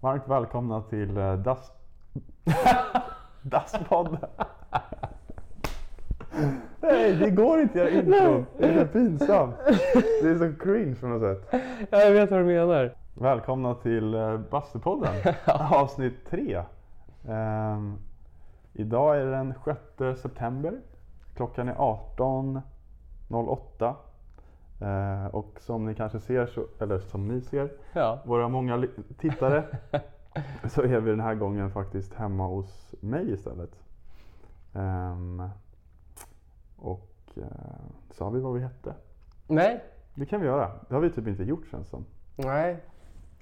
Varmt välkomna till eh, Das... Das-podden. Nej, det går inte jag intron. Det är för pinsamt. Det är så cringe på något sätt. Ja, jag vet vad du menar. Välkomna till eh, Bastupodden, avsnitt 3. idag är det den 6 september. Klockan är 18.08. Ehm, och som ni kanske ser, så, eller som ni ser, Ja. våra många li- tittare så är vi den här gången faktiskt hemma hos mig istället. Ehm, och eh, sa vi vad vi hette? Nej. Det kan vi göra. Det har vi typ inte gjort känns som. Nej.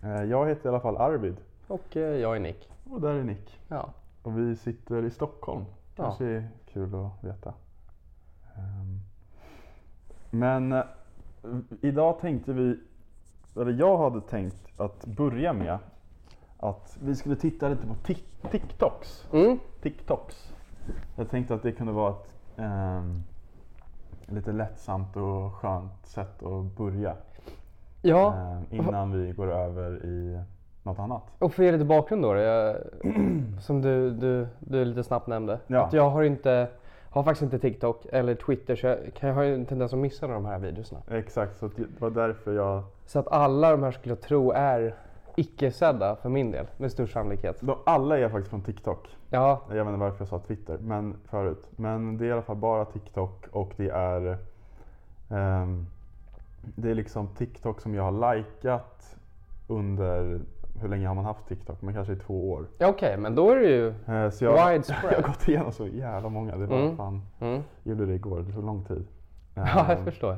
Eh, jag heter i alla fall Arvid Och eh, jag är Nick. och där är Nick. Ja. Och vi sitter i Stockholm. Ja. Kanske är kul att veta. Ehm, Men eh, idag tänkte vi, eller jag hade tänkt att börja med att vi skulle titta lite på Tik- TikToks. Mm. TikToks. Jag tänkte att det kunde vara ett ehm, lite lättsamt och skönt sätt att börja Ja. ehm, innan vi går över i något annat. Och för att ge lite bakgrund då. Jag, som du, du, du lite snabbt nämnde. Ja. Att jag har inte har faktiskt inte TikTok eller Twitter så jag, kan, jag har ju en tendens att missa de här videorna. Exakt, så det var därför jag Så att alla de här skulle jag tro är icke-sedda för min del med stor sannolikhet. De, alla är faktiskt från TikTok. Ja, Jag vet inte varför jag sa Twitter men förut. Men det är i alla fall bara TikTok och det är ehm, Det är liksom TikTok som jag har likat under Hur länge har man haft TikTok? Men kanske i två år. ja okej men då är det ju Eh, så jag, jag har widespread. gått igenom så jävla många. Det var Mm. fan, Mm. gjorde det igår. Det tog lång tid. Ja, jag Ehm, förstår.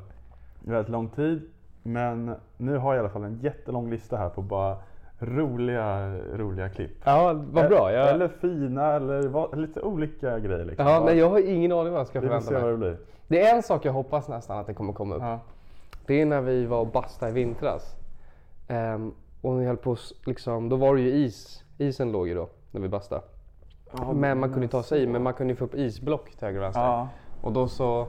väldigt lång tid. Men nu har jag i alla fall en jättelång lista här på bara roliga, roliga klipp. Eh, Ja, vad bra. Jag, Eller fina eller vad, lite olika grejer. Liksom. ja, nej, jag har ingen aning vad jag ska Vi får förvänta se mig. vad det blir. Det är en sak jag hoppas nästan att det kommer komma upp. Ja. Det är när vi var och bastade i vintras. Ehm, och vi höll på s- liksom, då var det ju is. Isen låg ju då när vi bastade. men man kunde ju ta sig i, men man kunde ju få upp isblock till höger och vänster. Ja. Och då så,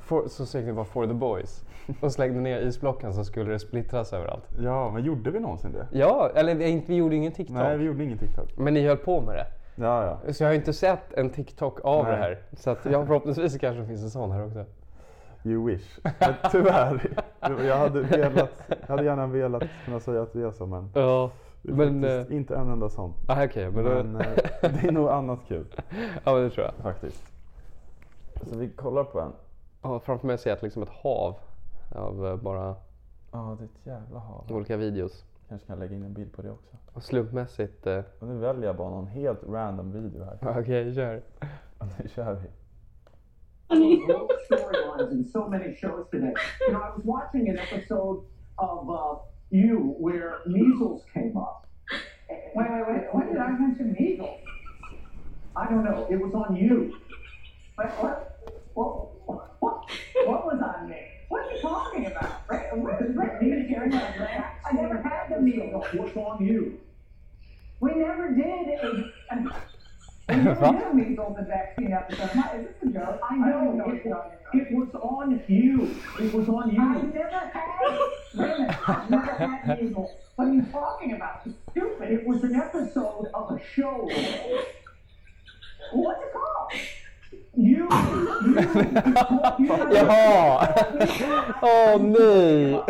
for, så skrek ni bara for the boys. Och slängde ner isblocken så skulle det splittras överallt. ja, men gjorde vi någonsin det? Ja, eller vi, inte- vi gjorde ingen TikTok. Nej, vi gjorde ingen TikTok. Men ni höll på med det. Ja, ja. Så jag har ju inte sett en TikTok av Nej. det här. Så att jag, förhoppningsvis kanske det finns en sån här också. You wish. Men tyvärr. Jag hade, velat, jag hade gärna velat kunna säga att det är så, men, Ja, det är Men, eh, faktiskt inte en enda sån. ah, okej. men, Men då- eh, det är nog annat kul ja, men det tror jag. faktiskt. Så vi kollar på en. Ja, framför mig ser jag ett- liksom ett hav av eh, bara Ja, det är ett jävla hav. olika videos. Kanske kan lägga in en bild på det också. Och slumpmässigt... Eh, Och nu väljer jag bara någon helt random video här. Okej, kör. Nu kör vi. Rogue storylines in so many shows today. You know, I was watching an episode of uh, You where measles came up. Wait, wait, wait. When did I mention measles? I don't know. It was on you. What? What? What, what, what was on me? What are you talking about? Right, what is right? You didn't carry my back. I never had the measles. What's on you? We never did. a- a- Va? New measles and vaccine episode. Hi, Is this a joke? I know. It, it was on you. It was on you. I never had. Wait a minute. I never had measles. What are you talking about? It's stupid. It was an episode of a show. What's it called? You. You. Jaha! Åh nej!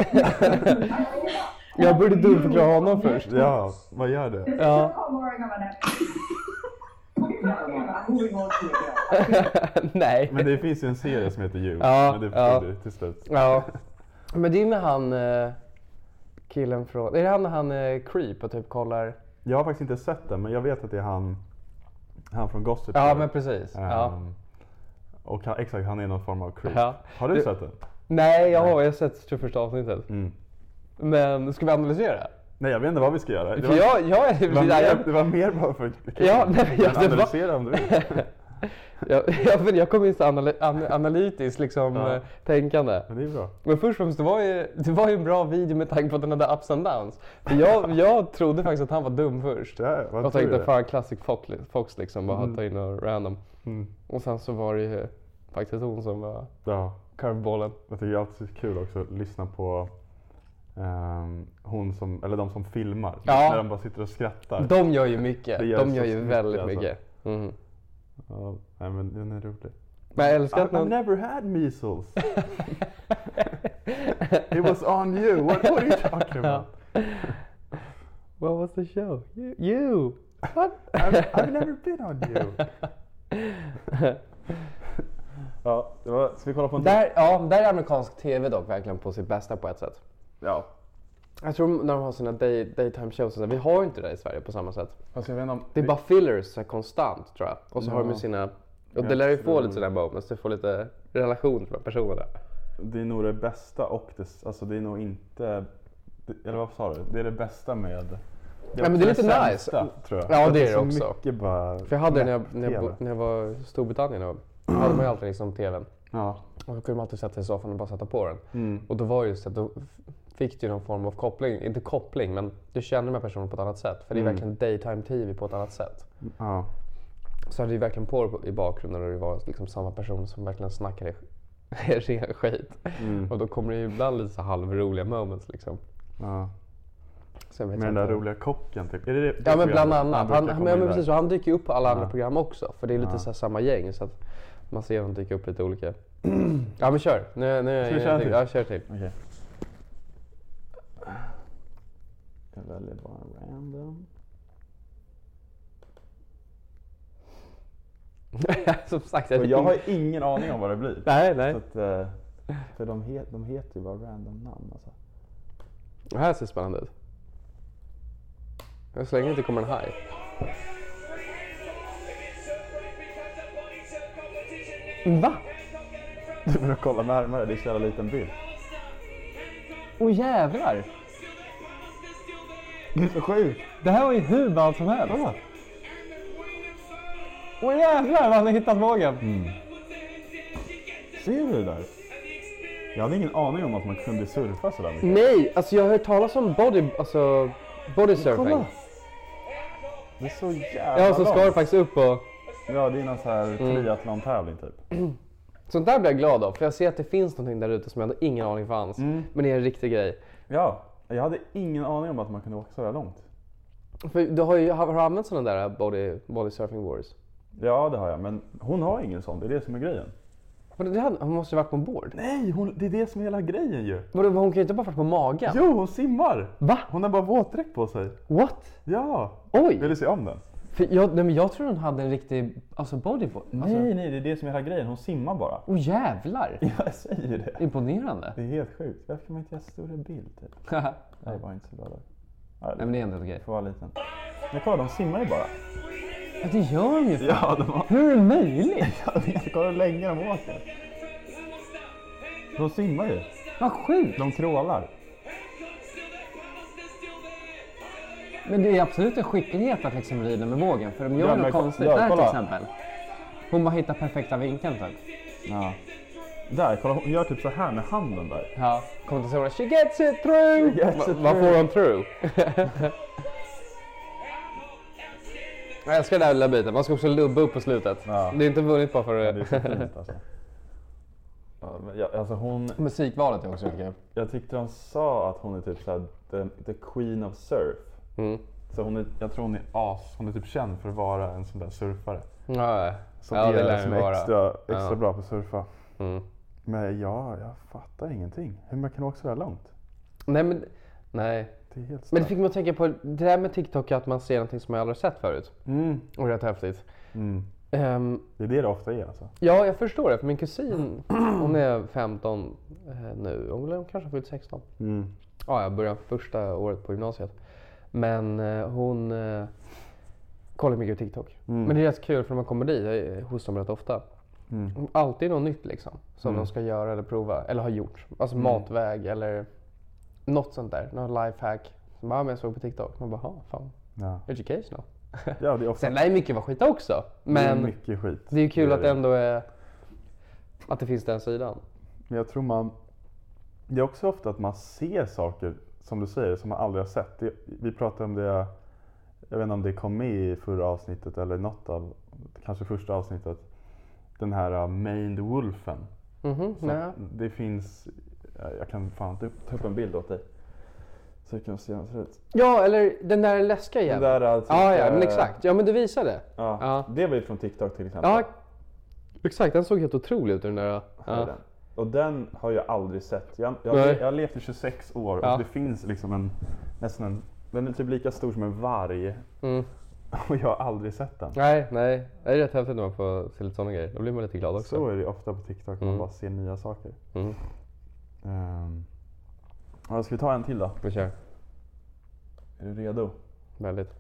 Jag borde dumförklara honom först. Ja, vad gör det? Ja. Moving on to it. nej. Men det finns ju en serie som heter You. Ja, men det ja. försvinner till slut. Ja. Men det är med han eh, killen från... Är det han när han eh, creep och typ kollar? Jag har faktiskt inte sett den men jag vet att det är han, han från Gossip Ja, Girl. men precis. Ja. Ehm, Och han, exakt, han är någon form av creep. Ja. Har du, Du- sett den? Nej, jag har jag har sett tror jag, första avsnittet. Mm. Men ska vi analysera? Nej, jag vet inte vad vi ska göra. Det För var, jag, jag är... det var, jag- mer, det var mer bara för Ja, nej, men jag- Men det var- Analysera om du vill. Jag, jag, men jag kom in så anal- an, analytiskt liksom, Ja. eh, tänkande. Men det är bra. Men först och främst, det var, ju, det var ju en bra video med tanke på att den hade ups and downs. För jag, jag trodde faktiskt att han var dum först. Ja, vad Jag tror tänkte du? fan classic Fox, Fox liksom, bara Mm. ta in något random. Mm. Och sen så var det ju faktiskt hon som var Ja, curveballen. jag tycker det är alltid kul också att lyssna på ehm, hon som, eller de som filmar. Ja. När de bara sitter och skrattar. De gör ju mycket. Det gör De så gör ju mycket, väldigt alltså. mycket. Mm. Ja, nej, men den är rolig. Men jag älskar att I, I've någon... never had measles. It was on you. What, what are you talking about? What was the show? You! you. What? I've, I've never been on you. ja, det var, ska vi kolla på en till? där, ja, där är amerikansk TV dock verkligen på sitt bästa på ett sätt. Ja. Jag tror när de har sina day, daytime shows, och sådär, vi har ju inte det i Sverige på samma sätt. Fast jag vet inte om... Det är bara fillers så här, konstant tror jag. Och så har de ju Ja. sina... Och det Jag lär ju få tror- lite sådana moments, du får lite relation från personerna. Det är nog det bästa och det, alltså det är nog inte, det- eller vad sa du? Det är det bästa med... Det också men det är lite sämsta, nice. tror jag. Ja, För att det är så det också. Mycket bara För jag hade det när jag, när jag, nätt-tv. bo- när jag var i Storbritannien. Och hade man ju alltid liksom TVn. Ja. Och då kunde man alltid sätta sig i soffan och bara sätta på den. Mm. Och då var det just att då f- fick du någon form av koppling. Inte koppling, men du känner de här personerna på ett annat sätt. För det är Mm. verkligen daytime TV på ett annat sätt. ja. Så hade du verkligen på det på- i bakgrunden och det var liksom samma person som verkligen snackade ren skit. Mm. Och då kommer det ju ibland lite så halvroliga moments liksom. ja. Så jag vet Med den där inte. roliga kocken typ. Är det det Ja men programmet? bland Han annat. brukar Han, komma men, in men där. precis, och han dyker ju upp på alla andra Ja. program också. För det är lite Ja. så här samma gäng så att man ser honom dyka upp lite olika. ja men kör. Nu, nu, Ska vi köra en till? Ja, kör till. Okej. Jag väljer bara en random. Som sagt, jag, Och jag har ingen aning om vad det blir. Nej, nej. Så att, eh, för de, het, de heter ju bara random namn alltså. Det här ser spännande ut. Så länge det inte kommer en haj. Va? Du får kolla närmare, det är så jävla liten bild. Åh jävlar! Det är så sjukt! Det här var ju hur ballt som helst. Åh jävlar vad han har hittat vågen! Mm. Ser du det där? Jag hade ingen aning om att man kunde surfa sådär mycket. Nej, alltså jag har hört talas om body, alltså, body surfing. Kolla! Det är så Mm. jävla Ja, så ska det långt. faktiskt upp och... Ja, det är någon sån här triathlon-tävling typ. Sånt där blir jag glad av, för jag ser att det finns någonting där ute som jag hade ingen aning fanns. Men det är en riktig grej. Ja, jag hade ingen aning om att man kunde åka sådär långt. För du har ju har, har du använt sådana där body, body surfing wars? Ja, det har jag, men hon har ingen sån. Det är det som är grejen. Men det hade, hon måste ju varit på en board. Nej, hon, det är det som är hela grejen ju. Vadå, Hon kan ju inte bara varit på magen. Jo, hon simmar! Va? Hon har bara våtdräkt på sig. What? Ja! Oj! Vill du se om den? För jag, nej, men jag tror hon hade en riktig alltså body bo- alltså, Nej, nej, det är det som är hela grejen. Hon simmar bara. Åh jävlar! Jag säger det. Imponerande. Det är helt sjukt. Varför kan man inte göra större bild? Typ? Nej, det var inte så bra där. Ja, nej men det är ändå okej. får vara liten. Men kolla, de simmar ju bara. Ja, det gör hon ju! Ja, de har... Hur är det möjligt? Jag vet inte, kolla hur länge de åker. De simmar ju. Vad sjukt! De krålar. Men det är absolut en skicklighet att liksom rida med vågen för de gör Ja, något men- konstigt. ja, där till kolla. exempel. Hon bara hittar perfekta vinkeln typ. Ja. Där, kolla. Hon gör typ så här med handen där. Ja. Kommer inte ihåg det. She gets it through! She gets Va- it Vad through. får hon through? Jag älskar den här lilla biten. Man ska också lubba upp på slutet. Ja. Det är inte vunnit bara för Det är så fint alltså. Ja, men jag, alltså hon, Musikvalet är också kul. jag tyckte de sa att hon är typ såhär the, the queen of surf. Mm. Så hon är, jag tror hon är as, hon är typ känd för att vara en sån där surfare. Ja, Som ja är, det lär som det är vara. extra, extra Ja. bra på att surfa. Mm. Men ja, jag fattar ingenting. Hur man kan åka sådär långt. Nej, men, nej. Det är helt men det stört. fick mig att tänka på det där med TikTok är att man ser någonting som jag aldrig sett förut. Mm. Och rätt häftigt. Mm. Ehm, Det är det det ofta är alltså. ja, jag förstår det. För min kusin, hon är 15 eh, nu. Hon hon kanske har fyllt 16. Mm. Ja, jag började första året på gymnasiet. Men eh, hon eh, kollar mycket på TikTok. Men det är rätt kul för när man kommer dit, jag är hos dem rätt ofta. Mm. Alltid något nytt liksom. Som de ska göra eller prova eller har gjort. Alltså Mm. matväg eller något sånt där. Något lifehack. Som bara, "Ja, men jag såg på TikTok. Man bara, "Ja, fan. Ja. Educational. ja, det är ofta Sen lär ju mycket vara skit också. men, Men mycket skit. det är ju kul Det är att det det. ändå är att det finns den sidan. Men jag tror man... Det är också ofta att man ser saker, som du säger, som man aldrig har sett. Det, vi pratade om det, jag vet inte om det kom med i förra avsnittet eller något av, kanske första avsnittet. Den här uh, Maned Wolfen. Mhm, Så nej. Det finns, jag kan fan ta upp- ta upp en bild åt dig. Så kan jag se hur han ser ut. Ja, eller den där läskiga Den jäveln. där, eh, typ, ja, ja, men eh, exakt. Ja, men du visade. Ja. Ja. Det var ju från TikTok till exempel. Ja, exakt. Den såg helt otrolig ut den där. Här är Ja. Den. Och den har jag aldrig sett. Jag, jag, Nej. jag har levt i 26 år Ja. och det finns liksom en, nästan en, den är typ lika stor som en varg Mm. och jag har aldrig sett den. Nej, nej. Det är rätt häftigt när man får se lite sådana grejer. Då blir man lite glad också. Så är det ju ofta på TikTok, man Mm. bara ser nya saker. Mm. Ehm. Ja, ska vi ta en till då? Vi kör. Är du redo? Väldigt.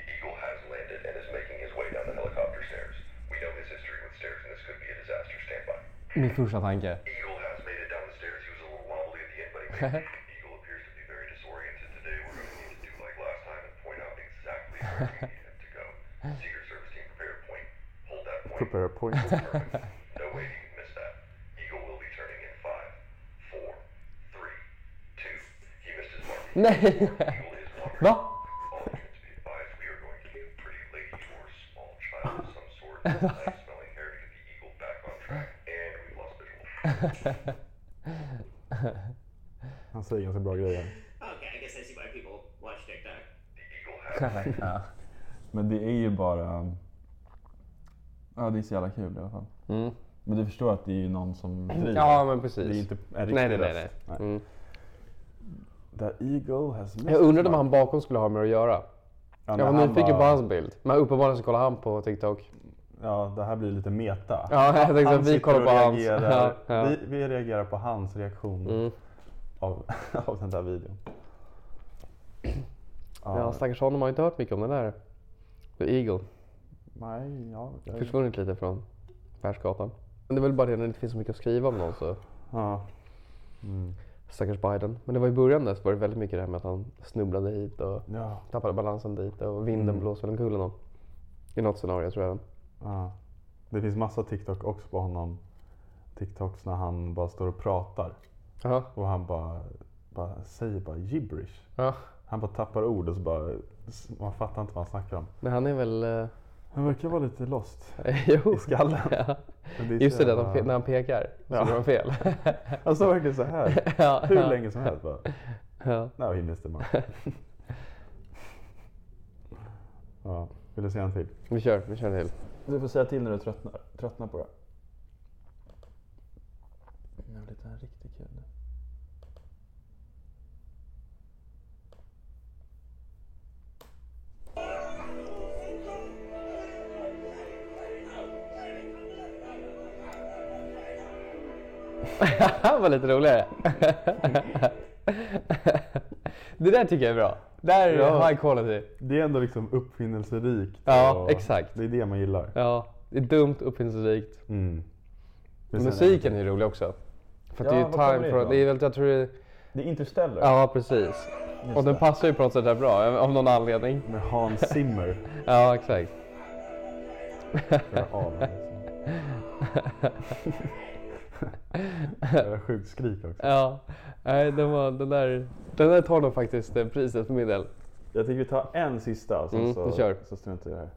Eagle has landed and is making his way down the helicopter stairs. We know his history with stairs, and this could be a disaster. Stand by. Min första tanke. Eagle has made it down the stairs. He was a little wobbly at the end, but he made it. Eagle appears to be very disoriented today. We're going to need to do like last time and point out exactly where we need him to go. Secret Service team, prepare a point. Hold that point. Prepare a point. Perfect. No way you missed that. Eagle will be turning in five, four, three, two. He missed his mark. Nej! Eagle is wandering. Va? All units be advised, we are going to need a pretty lady or small child of some sort with nice smelling hair to get the eagle back on track, and we've lost visual. Han säger ganska bra grejer. Okay, I guess I see why people watch TikTok. The eagle ja. has Men det är ju bara... Ja, det är så jävla kul i alla fall. Mm. Men du förstår att det är ju någon som driver. ja, men det precis. är inte en riktig nej, nej, nej. röst. nej. Nej. Mm. The eagle has Jag undrade vad han bakom skulle ha med det att göra. Ja, Jag när var han nyfiken bara- på hans bild. Men uppenbarligen så kollar han på TikTok. Ja, det här blir lite meta. Ja, jag tänkte Han att vi sitter kollar och på hans. reagerar. Ja, ja. Vi, vi reagerar på hans reaktion Mm. av, av den där videon. Ja, Ja, stackars honom har inte hört mycket om den där. The Eagle. nej, ja, jag, Försvunnit lite från världsgatan. Men det är väl bara det när det inte finns så mycket att skriva om någon så. ja. Mm. Stackars Biden. Men det var i början där så var det väldigt mycket det här med att han snubblade hit och ja, tappade balansen dit och vinden Mm. blåste väl omkull honom. I något scenario tror jag. även. ja. Det finns massa TikTok också på honom. TikToks när han bara står och pratar Jaha. och han bara, bara säger bara gibberish. Ja. Han bara tappar ord och så bara, man fattar inte vad han snackar om. Men han är väl... eh, Han verkar vara lite lost jo. i skallen. Ja. Men är så Just det, där, jävla- de, pe- när han pekar så Ja. gör han fel. Han står verkligen så här. ja. Hur ja. länge som helst bara. Ja. No, he missed the mark. ja, vill du se en till? Vi kör, vi kör en till. Du får säga till när du tröttnar, tröttnar på det. Nu är det en riktigt kul. Han var lite roligare. det där tycker jag är bra. Där är Ja. high quality. Det är ändå liksom uppfinnelserikt. Ja, och exakt. Det är det man gillar. Ja, det är dumt, uppfinningsrikt. Mm. Men sen- Musiken är ju rolig också. För att Ja, det är ju var kommer time det for... ifrån? Det är väl, jag tror det är, Det är Interstellar Ja, precis. Just Och den det. passar ju på något sätt där bra, av någon anledning. med Hans Zimmer. Ja, exakt. Spelar av honom, liksom. Jävla Sjukt skrik också. Ja, nej, den, var, den, där, den där tar nog faktiskt eh, priset för min del. Jag tycker vi tar en sista och sen Mm, så, vi kör. så struntar vi i det här.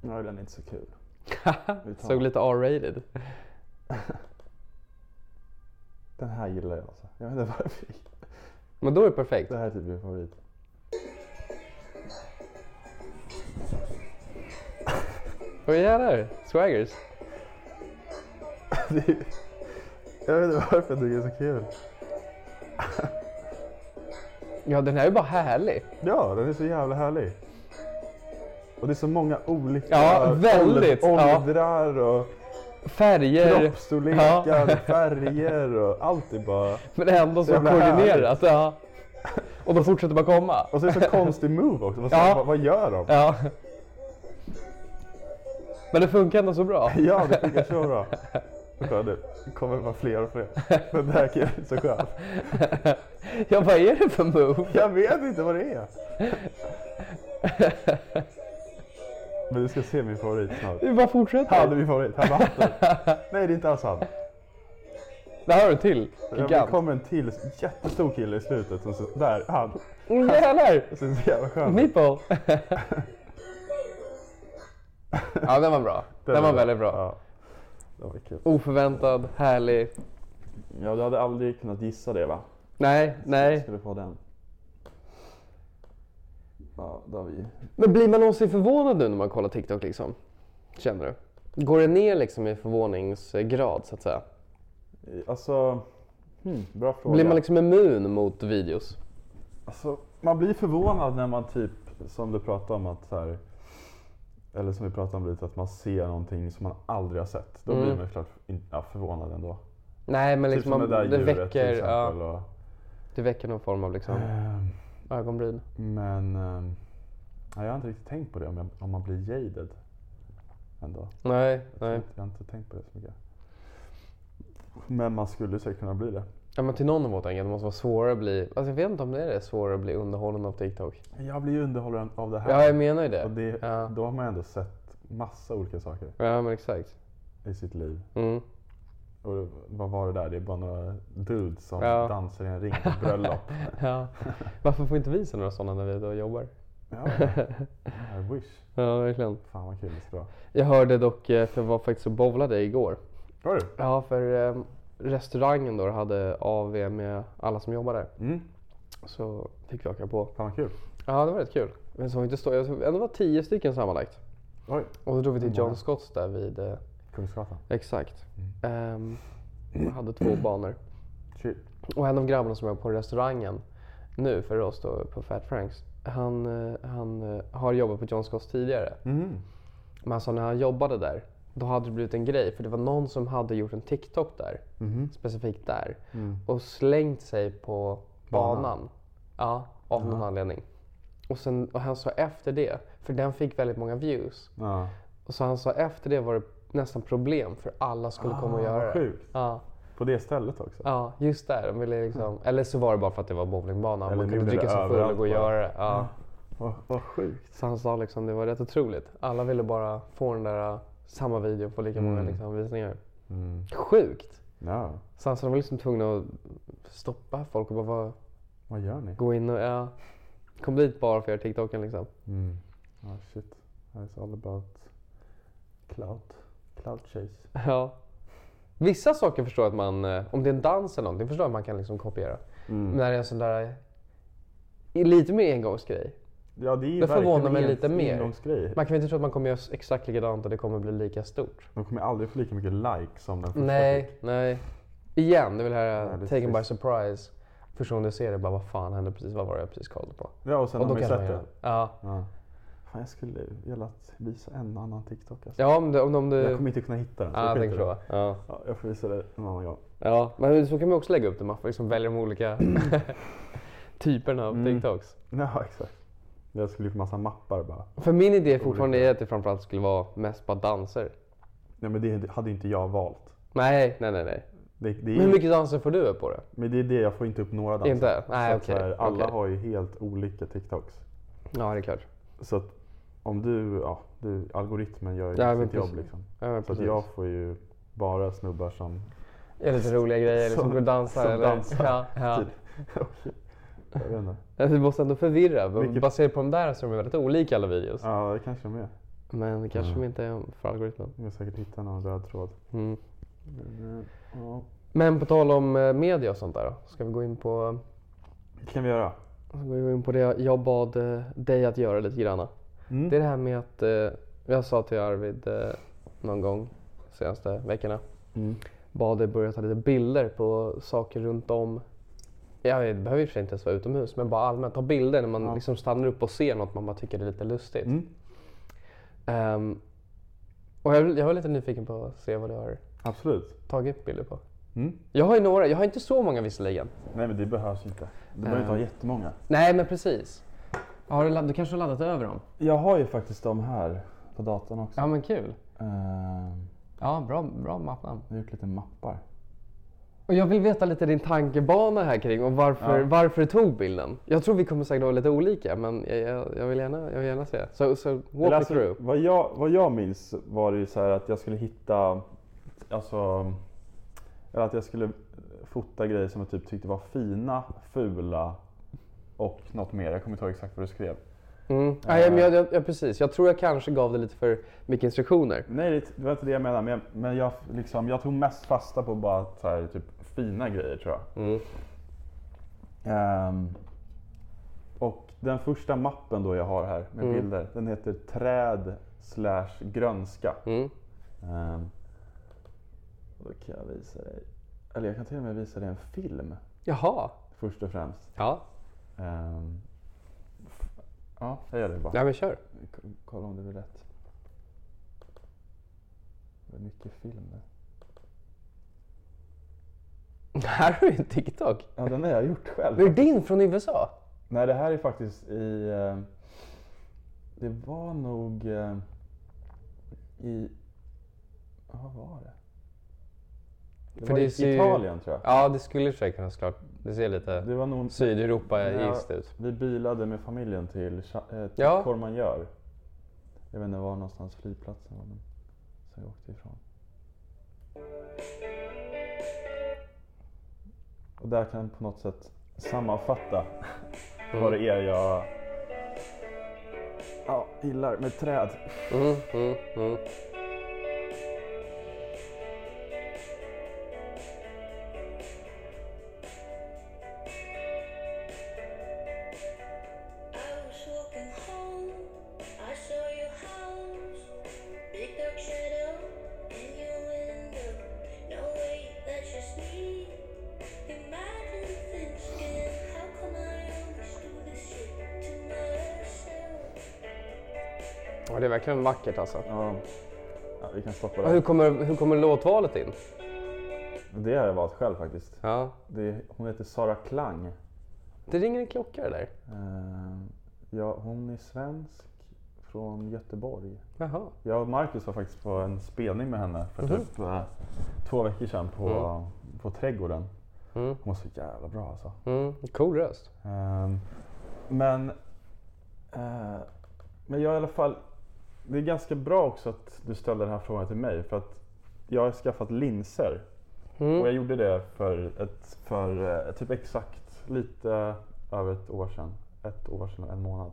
Nej, den är inte så kul. Vi tar- Såg lite R-rated. Den här gillar jag alltså. Jag vet inte varför. Men då är det perfekt. Det här är typ min favorit. Åh jävlar, swaggers. Det är- jag vet inte varför jag tycker det är så kul. Ja, den här är bara härlig. Ja, den är så jävla härlig. Och det är så många olika Ja, väldigt. åld- Ja. åldrar och Färger. kroppsstorlekar, Ja. färger och allt är bara... Men ändå så Så jävla koordinerat. Ja. Och de fortsätter bara komma. Och så är det så konstig move också. Vad, Ja. vad, vad gör de? Ja. Men det funkar ändå så bra. Ja, det funkar så bra. Och kolla, det kommer vara fler och fler. Den där killen är så skön. Jag vad är det för move? Jag vet inte vad det är. Men du ska se min favorit snart. Vi bara Han är fortsätter. min favorit. Han var hatten. Nej, det är inte alls han. Där har du en till Ja, men Det gigant. kom en till jättestor kille i slutet. Som så, där, han. Mm, Åh jävlar! Så så jävla skön. Meeple! Ja, den var bra. Den, var väldigt bra. Ja. Det var kul. Oförväntad, härlig. Ja, du hade aldrig kunnat gissa det va? Nej, Jag nej. skulle få den. Ja, där vi... Men blir man någonsin förvånad nu när man kollar TikTok liksom? Känner du? Går det ner liksom i förvåningsgrad så att säga? Alltså, hmm, bra fråga. Blir man liksom immun mot videos? Alltså, man blir förvånad när man typ, som du pratade om, att så här, eller som vi pratade om lite, att man ser någonting som man aldrig har sett. Då blir man ju klart in, ja, förvånad ändå. Nej, men Typ Mm. liksom som det man, där det, djuret till väcker, exempel. ja, Och, det väcker någon form av liksom ehm, ögonbryn. men ehm, ja, jag har inte riktigt tänkt på det, om, jag, om man blir jaded. Ändå. Nej, Jag nej. har inte tänkt på det så mycket. Men man skulle säkert kunna bli det. Ja, men till någon mått enkelt. Det måste vara svårare att bli... Alltså jag vet inte om det är det, svårare att bli underhållen av TikTok. Jag blir ju underhållen av det här. Ja, jag menar ju det. och det Ja. Då har man ändå sett massa olika saker ja, men exakt. i sitt liv. Mm. Och vad var det där? Det är bara några dudes som Ja. dansar i en ring på ett bröllop. Ja. Varför får inte vi se några sådana när vi är ute och jobbar? ja, I wish. Ja, verkligen. Fan vad kul det skulle vara. Jag hörde dock, eh, för jag var faktiskt och bowlade igår. Var du? Ja, för eh, restaurangen då hade AV med alla som jobbar där. Mm. Så fick vi åka på. Fan vad kul. Ja, det var rätt kul. Men så var inte stå. Jag tror ändå var tio stycken sammanlagt. Oj, Och så drog vi till Hur många? John Scotts där vid... Eh, Kungsgatan. exakt. Mm. Ehm, man hade två banor. Shit. Och en av grabbarna som är på restaurangen nu för oss då på Fat Franks. Han, eh, han eh, har jobbat på John Scotts tidigare. Mm. Men alltså när han jobbade där, då hade det blivit en grej. För det var någon som hade gjort en TikTok där. Mm-hmm. Specifikt där. Mm. Och slängt sig på banan. Ja, av någon anledning. Och, sen, och han sa efter det, för den fick väldigt många views. Ja. Och så han sa efter det var det nästan problem för alla skulle komma och Ah, vad göra det. sjukt. Ja, På det stället också. ja, just där. De ville liksom, eller så var det bara för att det var bowlingbana. Mm. Eller Man gjorde kunde det dricka sig full och överallt gå och bara. Mm. göra det. Ja. Vad, vad sjukt. Så han sa liksom det var rätt otroligt. Alla ville bara få den där uh, samma video på lika Mm. många liksom, visningar. Mm. Sjukt! Ja. Så han sa de var liksom tvungna att stoppa folk och bara vara- Vad gör ni? gå in och ja, kom dit bara för att göra TikToken liksom. Mm. Ah, shit. It's all about clout. Clout chase. Ja. Vissa saker förstår jag att man, eh, om det är en dans eller någonting, förstår jag att man kan liksom kopiera. Mm. Men när det är en sån där eh, lite mer engångsgrej. Ja, det är ju Det förvånar verkligen mig en lite mer. Engångsgrej. Man kan väl inte tro att man kommer göra s- exakt likadant och det kommer bli lika stort. De kommer aldrig få lika mycket like som den första fick. Nej, nej. Igen, det vill här Ja, det är eh, taken by trist. surprise. Första gången du ser det, bara vad fan hände precis? Vad var det jag precis kollade på? Ja, och sen Och har då man ju kanske man sett gör det. det. Ja, Ja. Fan, jag skulle velat visa en annan TikTok. Alltså. ja eh, ah, om, du, om, om du... Jag kommer inte kunna hitta den. så ja, jag skiter tänker i det. så. Ja. Ja, jag får visa dig en annan gång. ja, men så kan man också lägga upp det. Man får liksom välja de olika typerna av Mm. TikToks. Ja, exakt. Jag skulle få massa mappar bara. För min idé fortfarande är att det framförallt skulle vara mest bara danser. Nej, men det hade inte jag valt. Nej, nej, nej. nej. Det, det Men hur är, mycket danser får du upp på det? Men det är det, jag får inte upp några Mm. danser. Inte? Nej, Så att okej, så här, Alla okej. har ju helt olika TikToks. Ja, det är klart. Så att om du, ja, du algoritmen gör ju Ja, men sitt jobb precis. liksom. Ja, men Så att precis. jag får ju bara snubbar som Gör lite roliga grejer, liksom Som- går och dansar. som eller? dansar. Ja, ja. Typ. Okej. jag vet inte. Ja, Du måste ändå förvirra. Vilket- Baserat på de där så är de väldigt olika alla videos. Ja, Mm. det kanske de är. Men det kanske de inte är för algoritmen. Jag har säkert hittat någon röd tråd. Mm. Men, eh, ja. Men på tal om eh, media och sånt där då. Ska vi gå in på, Det kan vi göra. ska vi gå in på det jag bad eh, dig att göra lite granna. Mm. Det är det här med att eh, jag sa till Arvid eh, någon gång de senaste veckorna. Mm. Bad dig börja ta lite bilder på saker runt om. Ja, det behöver i och för sig inte ens vara utomhus men bara allmänt ta bilder när man Ja. liksom stannar upp och ser något man bara tycker är lite lustigt. Mm. Ehm, och jag, jag är lite nyfiken på att se vad du har Absolut. tagit bilder på. Mm. Jag har ju några, jag har inte så många visserligen. Nej men det behövs inte. Du behöver inte ha jättemånga. Nej men precis. Har du, ladd- du kanske har laddat över dem? Jag har ju faktiskt dem här på datorn också. Ja men kul. Ehm, Ja, bra, bra mappnamn. jag har gjort lite mappar. Och jag vill veta lite din tankebana här kring och varför, Ja. varför du tog bilden. Jag tror vi kommer säkert vara lite olika men jag, jag, jag, vill, gärna, jag vill gärna se. det. Så so, walk Eller me through. vad, jag, vad jag minns var det ju så här att jag skulle hitta, alltså, eller att jag skulle fota grejer som jag typ tyckte var fina, fula och något mer. Jag kommer inte ihåg exakt vad du skrev. Mm. Ah, ja, men jag, jag, ja, precis. Jag tror jag kanske gav det lite för mycket instruktioner. Nej, det det var inte det jag menade. Men, jag, men jag, liksom, jag tog mest fasta på bara så här, typ, fina grejer tror jag. Mm. Ehm, och den första mappen då jag har här med Mm. bilder, den heter Träd slash grönska. Mm. Ehm, och då kan jag visa dig, eller jag kan till och med visa dig en film Jaha. först och främst. Ja, Ehm, f- ja, jag gör det bara. ja men kör. K- Kolla om det blir rätt. Det är mycket film där. Här har du en TikTok. Ja, den har jag gjort själv. Det är din från USA. Nej, det här är faktiskt i... eh, Det var nog eh, i... ja, Vad var det? Det För var det i ser ju- Italien tror jag. Ja, det skulle i och för sig kunna såklart. Det ser lite Det var nog... Sydeuropa-iskt Ja, ut. Vi bilade med familjen till, Cha- eh, till Ja. Courmayeur. Jag vet inte var någonstans flygplatsen var, men sen jag åkte ifrån. Och där kan jag på något sätt sammanfatta Mm. vad det är jag ja, gillar med träd. Mm, mm, mm. I was walking home. I saw your house, big dark shadow in your window. No way, that's just me. Imagine thinking, how come I always do this shit to myself? Ja, det är verkligen vackert alltså. Ja, ja, vi kan stoppa Ja, Hur det. kommer, hur kommer låtvalet in? Det har jag valt själv faktiskt. Ja. Det är, hon heter Sara Klang. Det ringer en klocka det där. Eh, ja, hon är svensk från Göteborg. Jaha. Jag och Marcus var faktiskt på en spelning med henne för typ eh, två veckor sedan på, på Trädgården. Mm. Hon var så jävla bra alltså. Mm. Cool röst. Ehm, men, eh, men jag i alla fall, det är ganska bra också att du ställde den här frågan till mig för att jag har skaffat linser Mm. och jag gjorde det för, ett, för eh, typ exakt lite över ett år sedan. Ett år sedan och en månad.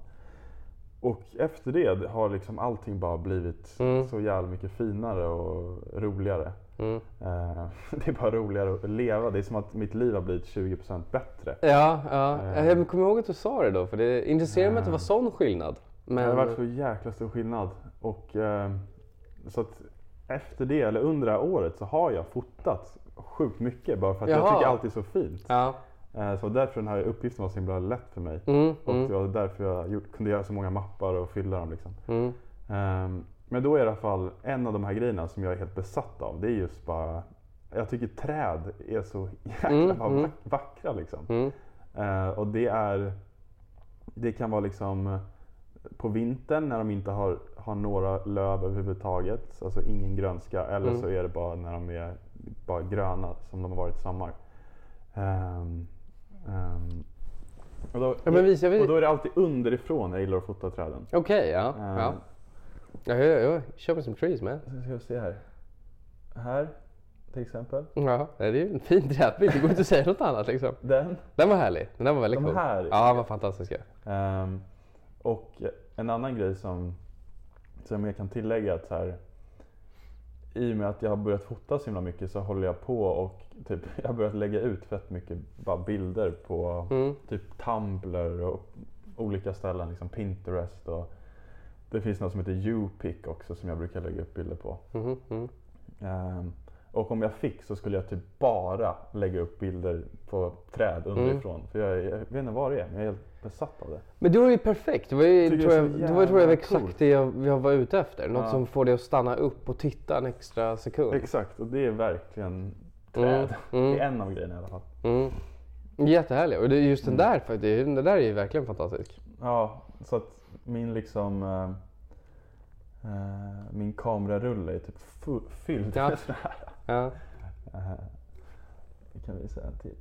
Och efter det har liksom allting bara blivit Mm. så jävla mycket finare och roligare. Mm. Eh, det är bara roligare att leva. Det är som att mitt liv har blivit 20% bättre. Ja, ja. Eh. Jag kommer ihåg att du sa det då, för det intresserar mig att det var sån skillnad. Men... Det har varit så jäkla stor skillnad. Och, eh, så att efter det, eller under det här året, så har jag fotat sjukt mycket bara för att jag Jaha. tycker allt är så fint. Ja. Eh, så därför den här uppgiften var så himla lätt för mig. Mm, Och mm, det var därför jag gjort, kunde göra så många mappar och fylla dem. Liksom. mm. Ehm, men då är i alla fall en av de här grejerna som jag är helt besatt av. Det är just bara, jag tycker träd är så jäkla Mm, bara mm. vack- vackra. Liksom. Mm. Eh, och det är, det kan vara liksom på vintern när de inte har, har några löv överhuvudtaget, alltså ingen grönska. Eller Mm. så är det bara när de är bara gröna som de har varit i sommar. Ehm, ehm, och, då, Ja, men visar vi- och då är det alltid underifrån jag gillar att fota träden. Okej, ja. Eh, ja. ja, ja, ja. Kör med some trees man. Nu ska vi se här. Här till exempel. Ja, det är ju en fin trädbild. Det går inte att säga något annat liksom. Den. Den var härlig. Den där var väldigt De cool. här- Ja, den var fantastiska. Ehm, och en annan grej som, som jag kan tillägga att så här, i och med att jag har börjat fota så himla mycket så håller jag på och typ, jag har börjat lägga ut fett mycket bara bilder på typ Tumblr och olika ställen, liksom Pinterest och det finns något som heter Upic också som jag brukar lägga upp bilder på. Mhm, mm. Ehm, och om jag fick så skulle jag typ bara lägga upp bilder på träd underifrån. För jag, jag vet inte vad det är, men jag är helt besatt av det. Men det var ju perfekt. Det var ju, Tycker tror det är jag, så det var, tror jag jävla exakt coolt. det jag, jag var ute efter. Något Ja. som får dig att stanna upp och titta en extra sekund. Exakt, och det är verkligen träd. Det är en av grejerna i alla fall. Mm. Jättehärlig. Och det är just den där faktiskt. Den där är ju verkligen fantastisk. Ja, så att min liksom eh, eh, min kamerarulle är typ fu- fylld Ja. med sådana här. Ja. Det kan vi säga en till.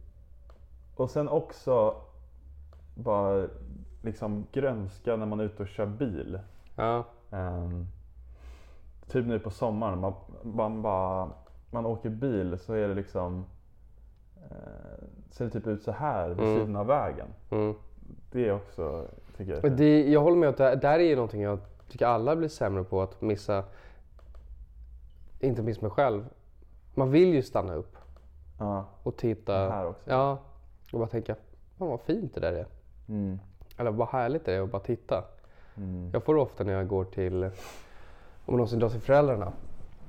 Och sen också bara liksom grönska när man är ute och kör bil. Ja. Ehm, typ nu på sommaren, man, man, bara, man åker bil så är det liksom eh, ser det typ ut så här vid sidan av vägen. Mm. Det är också, tycker tycker jag. är Och fint. Det, jag håller med att det här, det här är ju någonting jag tycker alla blir sämre på att missa. Inte minst mig själv. Man vill ju stanna upp Ja. och titta. Det här också. Ja, och bara tänka, fan vad fint det där är. Mm. Eller vad härligt det är att bara titta. Jag får det ofta när jag går till, om jag någonsin drar till föräldrarna.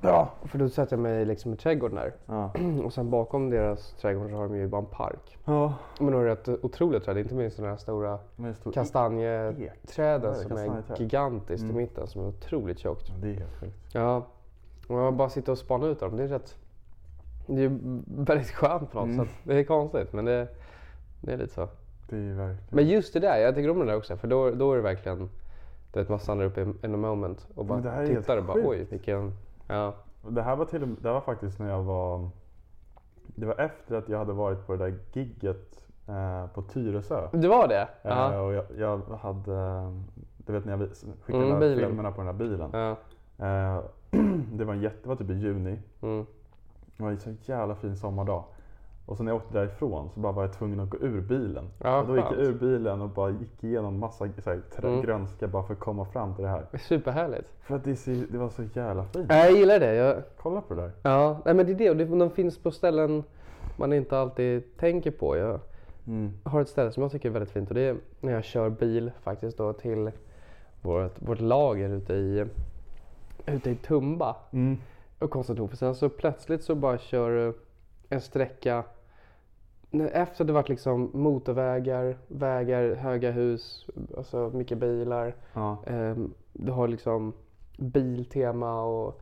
Ja. För då sätter jag mig liksom i trädgården där. Ja. Och sen bakom deras trädgård så har de ju bara en park. ja. Men de har rätt otroliga träd, inte minst de här stora Men det står Mm. Ja, kastanjeträden det är som är kastanjeträd. Mm. gigantiskt i mitten som är otroligt tjockt. Det är helt sjukt. Ja, och jag bara sitter och spanar ut dem. Det är rätt... Det är väldigt skönt på något Mm. sätt. Det är konstigt men det, det är lite så. Det är verkligen... Men just det där, jag tycker om det där också för då, då är det verkligen du vet, man stannar upp in, in a moment och bara Men det här är helt tittar och bara sjukt. oj vilken... Ja. Det här var till och med, det här var faktiskt när jag var... Det var efter att jag hade varit på det där gigget eh, på Tyresö. Det var det? Eh, Ja. och jag, jag hade... eh, Du vet när jag vis- skickade Mm, de här bilen. filmerna på den här bilen. Ja. Eh, det var en jätte, det var typ i juni. Mm. Det var en så jävla fin sommardag. Och sen när jag åkte därifrån så bara var jag tvungen att gå ur bilen. Ja, och då gick jag skönt. ur bilen och bara gick igenom massa så här, trä- Mm. grönska bara för att komma fram till det här. Superhärligt. För att det, ser, det var så jävla fint. Nej, jag gillar det. Jag, Kolla på det där. ja. Nej, men det är det. Och det. De finns på ställen man inte alltid tänker på. Jag, Mm. har ett ställe som jag tycker är väldigt fint och det är när jag kör bil faktiskt då till vårt, vårt lager ute i, ute i Tumba Mm. och Konstantin. För sen så plötsligt så bara kör eh, en sträcka när- efter det varit liksom motorvägar, vägar, höga hus, alltså mycket bilar. Ja. Ehm, du har liksom biltema och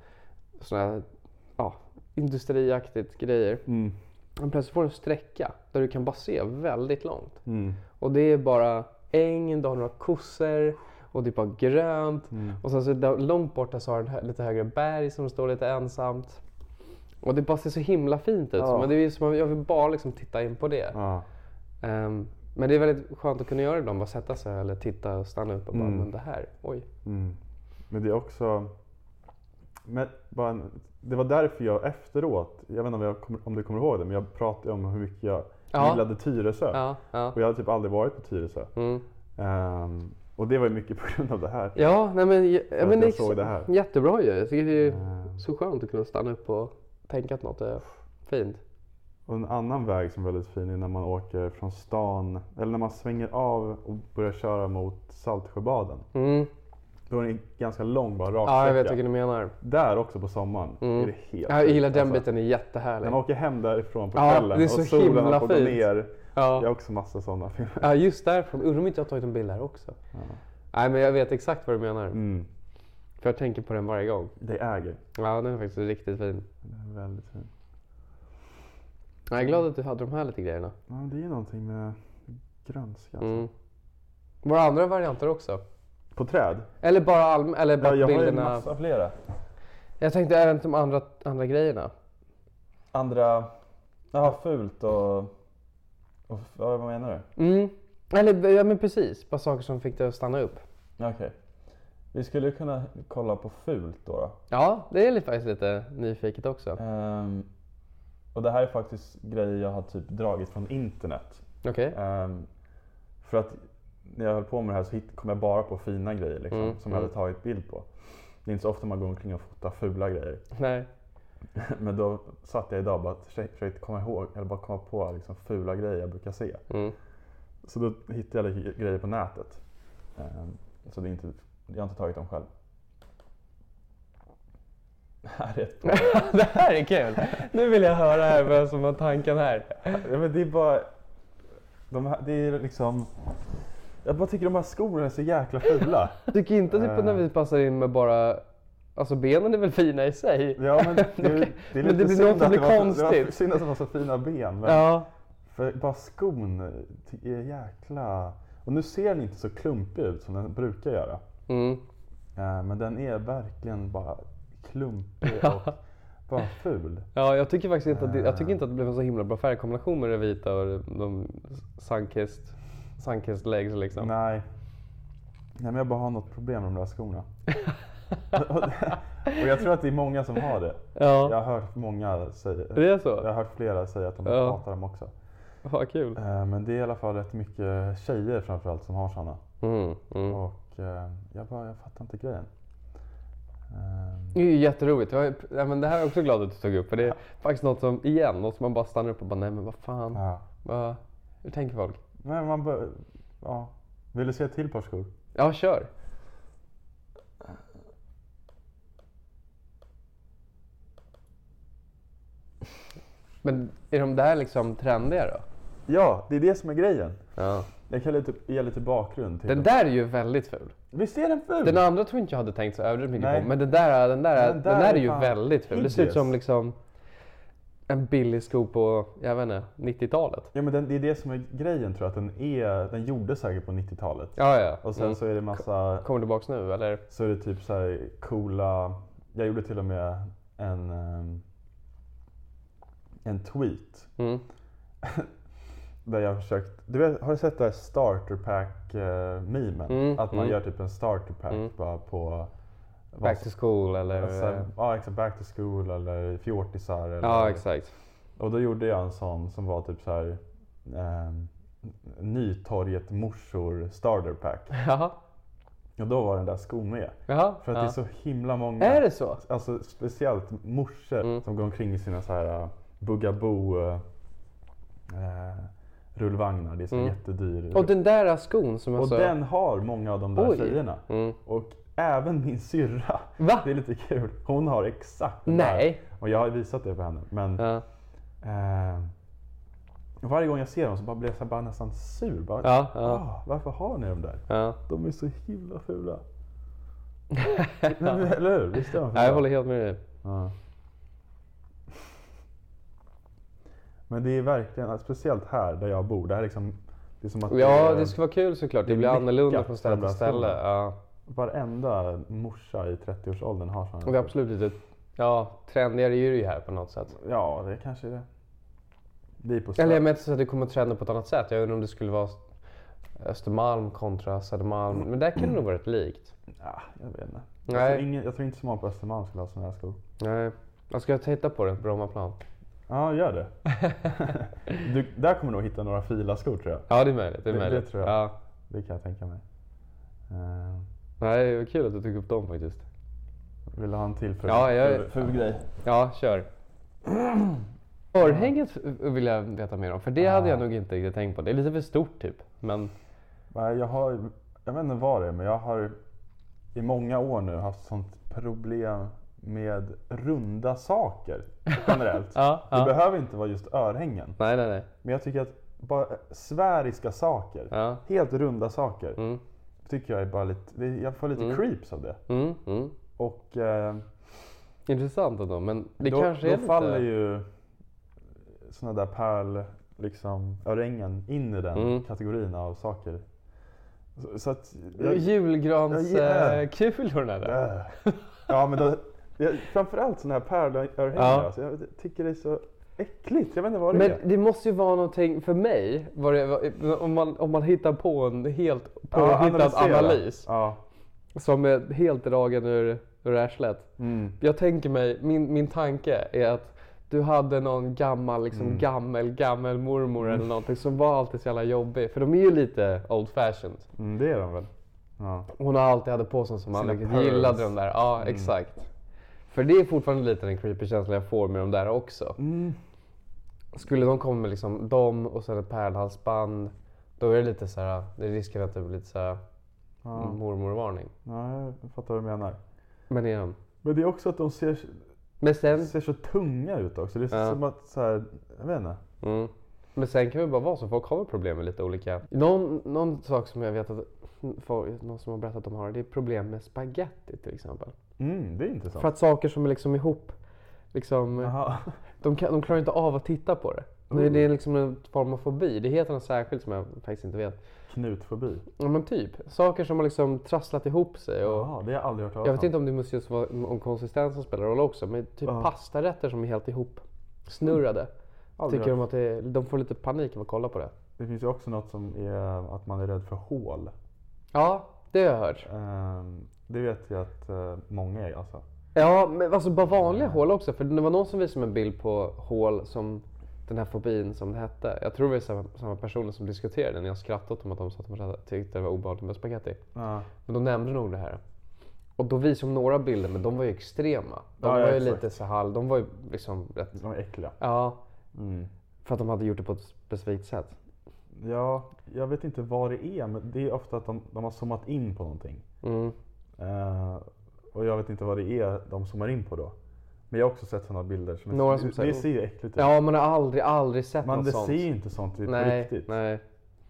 sådana här ja, industriaktigt grejer. Mm. Men plötsligt får du en sträcka där du kan bara se väldigt långt. Mm. Och det är bara äng, du har några kossor och det är bara grönt. Mm. Och sen så där, långt borta så har du en hö- lite högre berg som står lite ensamt. Och det bara ser så himla fint ut. Ja. Men det är ju som, jag vill bara liksom titta in på det. Ja. Ehm, men det är väldigt skönt att kunna göra det ibland. Bara sätta sig eller titta och stanna upp och bara, Mm. men det här, oj. Mm. Men det är också... Men bara en, det var därför jag efteråt, jag vet inte om, jag kommer, om du kommer ihåg det, men jag pratade om hur mycket jag Ja. gillade Tyresö. Ja, ja. Och jag hade typ aldrig varit på Tyresö. Mm. Ehm, och det var ju mycket på grund av det här. Ja, nej men, ja, att men jag ex- såg det här. jättebra ju. Jag tycker det är Ehm, så skönt att kunna stanna upp och tänka att något är fint. och en annan väg som är väldigt fin är när man åker från stan, eller när man svänger av och börjar köra mot Saltsjöbaden. Mm. Då är det en ganska lång bara rak Ja, jag vet sträcka. vilken du menar. Där också på sommaren är det helt Ja, jag sjukt, gillar den alltså. biten, den är jättehärlig. När man åker hem därifrån på Ja, kvällen det är så och solen himla har fått gå fint. ner. Jag har Ja. också massa sådana filmer. ja, just därifrån. Undrar om inte jag har tagit en bild här också. Nej, men jag vet exakt vad du menar. Mm. För jag tänker på den varje gång. Det äger. Ja, den är faktiskt riktigt fin. Det är väldigt fint. Jag är glad att du hade de här lite grejerna. Ja, men det är ju någonting med grönska. Alltså. Mm. Våra andra varianter också. På träd? Eller bara, allm- eller bara Ja, jag har ju bilderna. massa flera. Jag tänkte även de andra, andra grejerna. Andra... Jaha, fult och... och vad menar du? Mm. Eller ja, men precis, bara saker som fick dig att stanna upp. Okej. Vi skulle kunna kolla på fult då. Ehm, Ja, det är li- faktiskt lite nyfiket också. och det här är faktiskt grejer jag har typ dragit från internet. Okej. Ehm, för att när jag höll på med det här så hitt- kom jag bara på fina grejer liksom, Mm, som jag hade tagit bild på. Det är inte så ofta man går omkring och fotar fula grejer. Nej. Men då satt jag idag och bara försö- försökte komma ihåg, eller bara komma på liksom, fula grejer jag brukar se. Mm. Så då hittade jag lite grejer på nätet. Ehm, så det är inte, jag har inte tagit dem själv. Här är ett par. det här är kul! Nu vill jag höra här vad som var tanken här. Ja, men det är bara... De här, det är liksom... Jag bara tycker de här skorna är så jäkla fula. Tycker inte typ Eh. att när vi passar in med bara... Alltså benen är väl fina i sig? Ja, men det, det, är Okej. lite Men det blir synd något som att det blir var så- Det var konstigt. synd att det var så fina ben. Men Ja. för bara skon ty- är jäkla... Och nu ser den inte så klumpig ut som den brukar göra. Mm. Eh, Men den är verkligen bara klumpig och bara ful. Ja, jag tycker faktiskt inte att det, jag tycker inte att det blev en så himla bra färgkombination med det vita och de sunkissed, sunkissed legs liksom. Nej. Nej, men jag bara har något problem med de där skorna. och, och- och jag tror att det är många som har det. Ja. Jag har hört många Det säga... är så? Jag har hört flera säga att de Ja. hatar dem också. Vad kul. Eh, Men det är i alla fall rätt mycket tjejer framförallt som har sådana. Mm, mm. Och eh, jag bara, jag fattar inte grejen. Ehm, Det är ju jätteroligt. Jag är, ja, men det här är jag också glad att du tog upp. För det är faktiskt något som, igen, något som man bara stannar upp och bara, nej men vad fan. ja. Vad, hur tänker folk? Men man bör, ja. Vill du se ett till par skor? Ja, kör. Men är de där liksom trendiga då? Ja, det är det som är grejen. Ja. Jag kan lite, ge lite bakgrund till Den där är ju väldigt ful. Visst är den ful? Den andra tror inte jag hade tänkt så överdrivet mycket Nej. på. Men den där, den där, Den den där där, är är ju fan väldigt ful. Det ser ut hideous. som liksom en billig sko på, jag vet inte, 90-talet. Ja men den, det är det som är grejen tror jag, att den, är, den gjordes säkert på 90-talet. Ja, ja. Och sen Mm. så är det massa, Kommer tillbaks nu eller? så är det typ så här coola, jag gjorde till och med en, ehm, en tweet. Mm. Där jag har försökt, du vet, har du sett det här starter pack eh, memen? Mm, Att man mm. gör typ en starter pack Mm. bara på vad Back to school eller? eh, Alltså, ja, exakt. Back to school eller fjortisar. Eller, ja, exakt. Och då gjorde jag en sån som var typ så här ehm, Nytorget morsor starter pack. Jaha. Och då var den där skon med. Jaha. För att ja. det är så himla många. Är det Mm. så? Alltså speciellt morsor som går omkring i sina så här uh, Bugaboo eh, eh, rullvagnar. Det är så jättedyr. Mm. Och den där skon som jag Och sa. den har många av de där Alltså- Oj. tjejerna. Mm. Och även min syrra. Va? Det är lite kul. Hon har exakt den Nej. där. Och jag har visat det för henne. Men Ja. eh, varje gång jag ser dem så bara blir jag så här bara nästan sur. Bara, Ja, ja. "Ah, varför har ni dem där? ja. De är så himla fula. Men, eller hur? Visst är de Nej, fula? jag håller helt med dig. Ja. Men det är verkligen, alltså, speciellt här där jag bor. Det här är liksom, det är som att eh, Ja, är- det skulle vara kul såklart. det Det är blir lyckat annorlunda från ställe till jävla skon. ställe. Ja. varenda morsa i 30-årsåldern har sådana. Och vi är absolut lite ja, trendigare är det ju här på något sätt. Ja, det kanske är det. Vi är på Eller jag Söder. menar inte så att det kommer trenda på ett annat sätt. Jag undrar om det skulle vara Östermalm kontra Södermalm. Men där kan det nog vara rätt likt. Ja, jag vet inte. Jag, Nej. tror ingen, jag tror inte så många på Östermalm skulle ha sådana här skor. Nej. Jag ska titta på det på Brommaplan. Ja, gör det. du, där kommer du nog hitta några fila skor tror jag. Ja, det är möjligt. Det, är Det- det möjligt. tror jag. Ja. Det kan jag tänka mig. Eh, Nej, det var kul att du tog upp dem faktiskt. vill du ha en till ful, Ja, jag- ful, ful grej? Ja, kör. Örhänget vill jag veta mer om, för det hade jag nog inte riktigt tänkt på. Det är lite för stort typ. Men Nej, Jag har, jag vet inte vad det är, men jag har i många år nu haft sånt problem med runda saker generellt. ja, Det ja. behöver inte vara just örhängen. Nej, nej, nej. Men jag tycker att bara sfäriska saker, Ja. helt runda saker, Mm. tycker jag är bara lite, det- jag får lite creeps av det. Mm, mm. Och eh, Intressant ändå, men det då, kanske då är faller lite... ju sådana där pärl, liksom örängen in i den Mm. kategorin av saker. Så, så att, jag, Mm. Ja, ja. Julgranskulorna där. äh. ja men då, jag, framförallt sådana här pärlörhängen, Ja. alltså, jag tycker det är så äckligt. Jag vet inte vad det Men är. det måste ju vara någonting, för mig, var det, var- om, man, om man hittar på en helt påhittad analysera. analys Ja. som är helt dragen ur, ur arslet. Mm. Jag tänker mig, min, min tanke är att du hade någon gammal, liksom gammel, gammel mormor eller någonting som var alltid så jävla jobbig. För de är ju lite old fashioned. Mm, det är de väl? Ja. Hon har alltid hade på sig som man Sina riktigt pearls. gillade de där. Ja, exakt. Mm. För det är fortfarande lite den creepy känslan jag får med de där också. Skulle de komma med liksom dem och sen ett pärlhalsband. Då är det lite så här, det riskerar att det blir lite så här mormorvarning. ja, jag fattar vad du menar. Men igen. Men det är också att de ser, Men sen, ser så tunga ut också. Det är Ja. som att så här, jag vet inte. Mm. Men sen kan det bara vara så, folk har väl problem med lite olika. Någon, någon sak som jag vet att folk, någon som har berättat att de har, det är problem med spaghetti till exempel. Mm, det är intressant. För att saker som är liksom ihop, liksom, Jaha. de, kan, de klarar inte av att titta på det. Det, det är liksom en form av fobi, det heter något särskilt som jag faktiskt inte vet. Knutfobi. Ja, men typ, saker som har liksom trasslat ihop sig. Och, Jaha, det har jag aldrig hört talas jag vet inte om det måste just vara om konsistensen spelar roll också, men typ Ja. pastarätter som är helt ihop snurrade. Aldrig Tycker de hört. att det, de får lite panik av att kolla på det. Det finns ju också något som är att man är rädd för hål. Ja, det har jag hört. Ehm, det vet jag att eh, många är alltså. Ja, men alltså bara vanliga hål också. För det var någon som visade mig en bild på hål som den här fobin som det hette. Jag tror det var samma, samma personer som diskuterade när jag skrattade åt dem att de sa att de hade- tyckte det var obehagligt med spagetti. Ja. Men de nämnde nog det här. Och då visade de några bilder, men de var ju extrema. De Ja, ja, var ju exakt. lite så här, de var ju liksom rätt... De är äckliga. Ja, Mm. för att de hade gjort det på ett specifikt sätt. Ja, jag vet inte vad det är, men det är ofta att de, de har zoomat in på någonting. Mm. Eh, och jag vet inte vad det är de zoomar in på då. Men jag har också sett sådana bilder. Som är- Några som det, säger- det ser ju äckligt ut. Ja, man har aldrig, aldrig sett Man något det sånt. ser ju inte sånt ut på nej, riktigt. nej.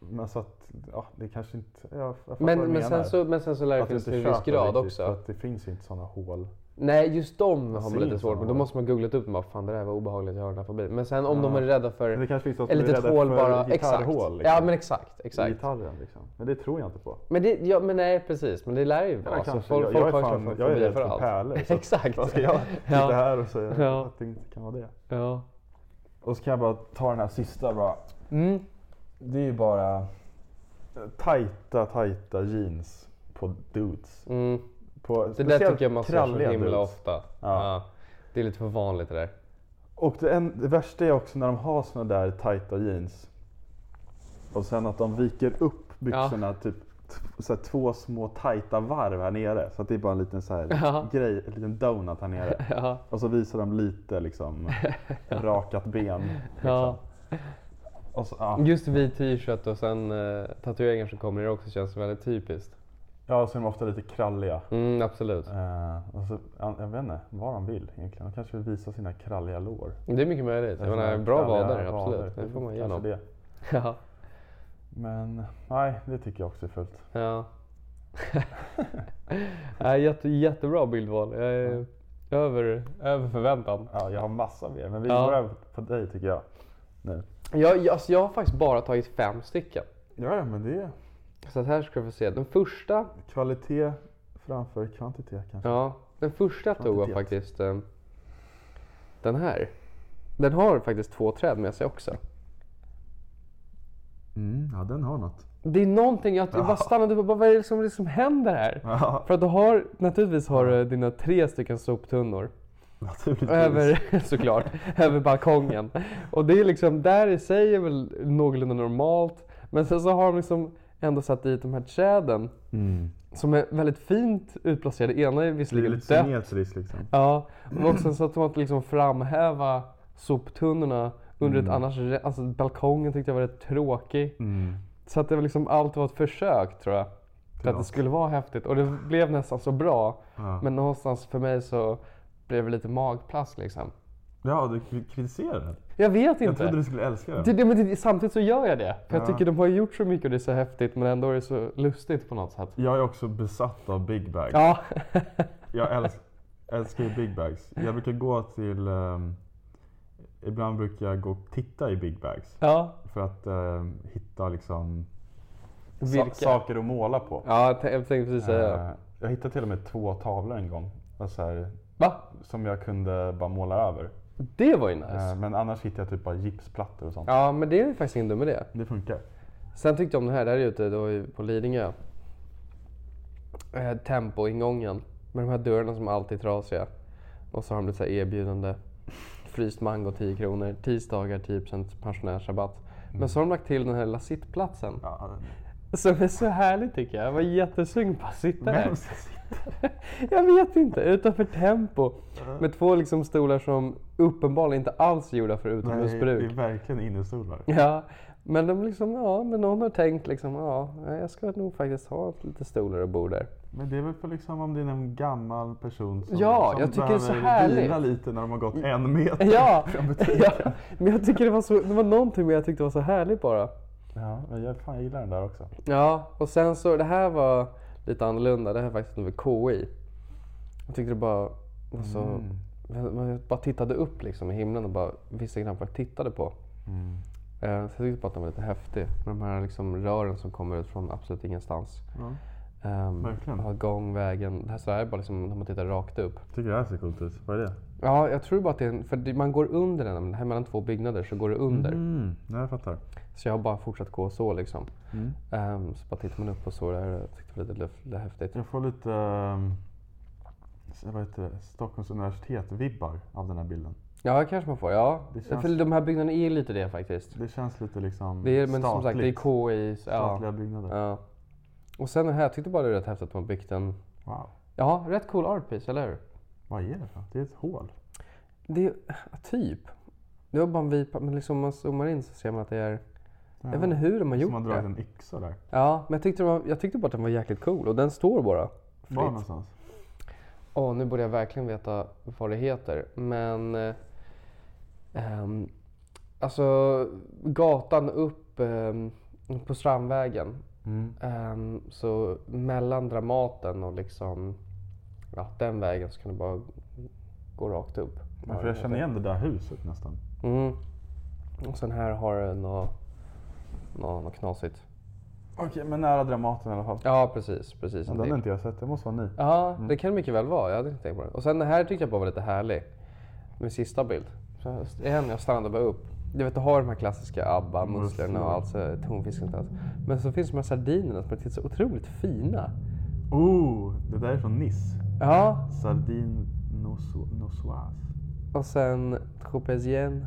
Men så att, ja, det kanske inte... Jag, jag fattar vad Men, du men, menar. sen så, men sen så lär det Att du finnas inte till en köper viss grad riktigt, också. För att det finns ju inte sådana hål. Nej, just dem ser har man lite inte svårt sådana Men då hål. måste man googlat upp och bara, fan det där var obehagligt, jag har den här fobin. Men sen om de Ja. är rädda Men det för kanske finns något ett litet hål bara. Exakt. Hål, Ja, men exakt. liksom. I exakt. gitarren liksom. Men det tror jag inte på. Men, det, ja, men nej, precis. Men det lär ju vara. Ja, så kanske. folk, Jag- folk jag är har ju fan- fan, jag är fobier rädd för för allt. pärlor, så Exakt. Vad ska jag sitta ja. här och säga Ja. att det inte kan vara det? Ja. Och så kan jag bara ta den här sista bara. Mm. Det är ju bara tajta, tajta jeans på dudes. Mm. På Det där speciellt tycker jag man ser så kralliga himla dudes. ofta. Ja. Ja. Det är lite för vanligt det där. Och det, en, det värsta är också när de har såna där tajta jeans. Och sen att de viker upp byxorna typ t- så här, två små tajta varv här nere. Så att det är bara en liten så här Ja. grej, en liten donut här nere. Ja. Och så visar de lite liksom rakat ben. Liksom. Ja. Och så, ja. Just vit t-shirt och sen eh, tatueringar som kommer i det också känns väldigt typiskt. ja, och så är de ofta lite kralliga. Mm, absolut. Eh, och så, jag, jag vet inte vad de vill egentligen. De kanske vill visa sina kralliga lår. Det är mycket möjligt. Jag menar, Sina bra kralliga vader, vader. absolut. Det får Kanske man igenom. det. Ja. Men nej, det tycker jag också är fult. ja. ja jätte, jättebra bildval. Jag är över, över förväntan. Ja, jag har massa mer, men vi Ja. går över på dig tycker jag. Jag, jag, alltså, jag har faktiskt bara tagit fem stycken. Ja, ja, men det är Så att här ska vi få se. Den första, kvalitet framför kvantitet kanske. ja, den första jag tog var Kvantitet. faktiskt eh, den här. Den har faktiskt två träd med sig också. Mm, ja, den har något. Det är någonting, jag, jag bara stannade upp och bara, vad är det som, det som händer här? Ja, För att du har, naturligtvis har du dina tre stycken soptunnor. naturligtvis. Över, såklart, över balkongen. Och det är liksom, där i sig är väl någorlunda normalt. Men sen så har de liksom ändå satt dit de här träden Mm. som är väldigt fint utplacerade. Ena är Det är visserligen lite dött. kinesiskt liksom. Ja, men också så att de att liksom framhäva soptunnorna under ett annars, re- alltså balkongen tyckte jag var rätt tråkig. Mm. Så att det var liksom, allt var ett försök tror jag. För att det något. skulle vara häftigt och det blev nästan så bra. Ja. Men någonstans för mig så blev det lite magplast liksom. ja, du k- kritiserar den. Jag vet Jag inte. trodde du skulle älska den. det, det, men det, samtidigt så gör jag det. För jag Ja. tycker de har gjort så mycket och det är så häftigt men ändå är det så lustigt på något sätt. Jag är också besatt av big bags. Ja. Jag älsk, älskar ju big bags. Jag brukar gå till... ehm, ibland brukar jag gå och titta i big bags. ja. För att ehm, hitta liksom sa- Virke. saker att måla på. Ja, jag tänkte jag tänkte precis säga det. Eh, Jag hittade till och med två tavlor en gång. Och så här, Va? som jag kunde bara måla över. Det var ju nice. Eh, Men annars hittade jag typ bara gipsplattor och sånt. Ja, men det är ju faktiskt ingen dum idé. Det funkar. Sen tyckte jag om den här, där ute, det var ju på Lidingö. Eh, Tempo-ingången med de här dörrarna som alltid är trasiga. Och så har de lite så här erbjudande. Fryst mango 10 kronor, tisdagar 10% pensionärsrabatt. Mm. Men så har de lagt till den här lilla sittplatsen. Ja, Som är så härlig tycker jag. Jag var jättesugen på att sitta där. vem ska sitta? Jag vet inte, utanför tempo. Med två liksom stolar som uppenbarligen inte alls är gjorda för Nej, det är utomhusbruk. verkligen innestolar. Ja, men de liksom, ja, men någon har tänkt liksom, ja, jag ska nog faktiskt ha lite stolar och bord där. Men det är väl för liksom om det är en gammal person som, Ja, som jag tycker det är så behöver härligt. Mm. vila lite när de har gått en meter. Ja, ja, men jag tycker det var, så, det var någonting med jag tyckte var så härligt bara. Ja, men jag, fan, jag gillar den där också. Ja, och sen så, det här var lite annorlunda. Det här är faktiskt över KI. Jag tyckte det bara var så... Mm. Man bara tittade upp liksom i himlen och bara visste knappt vad jag tittade på. Mm. Eh, Så jag tyckte bara att den var lite häftig. Med de här liksom rören som kommer ut från absolut ingenstans. Ja. Um, Verkligen. Har gångvägen. Det här, så här är bara liksom när man tittar rakt upp. Tycker det här ser coolt ut. Vad är det? Ja, jag tror bara att det är en, För det- man går under den. men Här mellan två byggnader så går det under. Mm, nej, jag fattar. Så jag har bara fortsatt gå så liksom. Mm. Ehm, så bara tittar man upp och så. Det här jag tyckte jag var lite, lite häftigt. Jag får lite ehm, vad heter det? Stockholms universitet-vibbar av den här bilden. Ja, kanske man får. Ja. Det känns- För de här byggnaderna är lite det faktiskt. Det känns lite liksom Det är, men som sagt, det är statligt. KI. Statliga Ja. byggnader. ja. Och sen den här, jag tyckte bara det var rätt häftigt att man byggt en... Wow. Ja, rätt cool art piece, eller hur? Vad är det för något? Det är ett hål. Det, typ. Det var bara en vit, men liksom om man zoomar in så ser man att det är... Jag vet inte hur de har Som gjort har dragit det. en yxa där. Ja, men jag tyckte, det var, jag tyckte bara att den var jäkligt cool och den står bara Var fritt. någonstans? Åh, nu borde jag verkligen veta vad det heter. Men... Eh, ehm, alltså, gatan upp ehm, på Strandvägen. Mm. Ehm, så mellan Dramaten och liksom... Ja, den vägen så kan du bara gå rakt upp. Ja, för jag känner igen det där huset nästan. Mm. Och sen här har du något nå, nå knasigt. Okej, men nära Dramaten i alla fall. Ja, precis. precis Den har inte jag sett, det måste vara ny. Ja, Mm. det kan det mycket väl vara. Jag hade inte tänkt på det. Och sen det här tyckte jag bara var lite härlig. Min sista bild. Så här, igen, jag stannade bara upp. Du vet, du har de här klassiska ABBA-musslorna Mm. och alltså tonfisken. inte alls. Men så finns de här sardinerna som är så otroligt fina. Oh, det där är från Nice. Ja, Sardine noso- nosoise. och sen Tropezienne.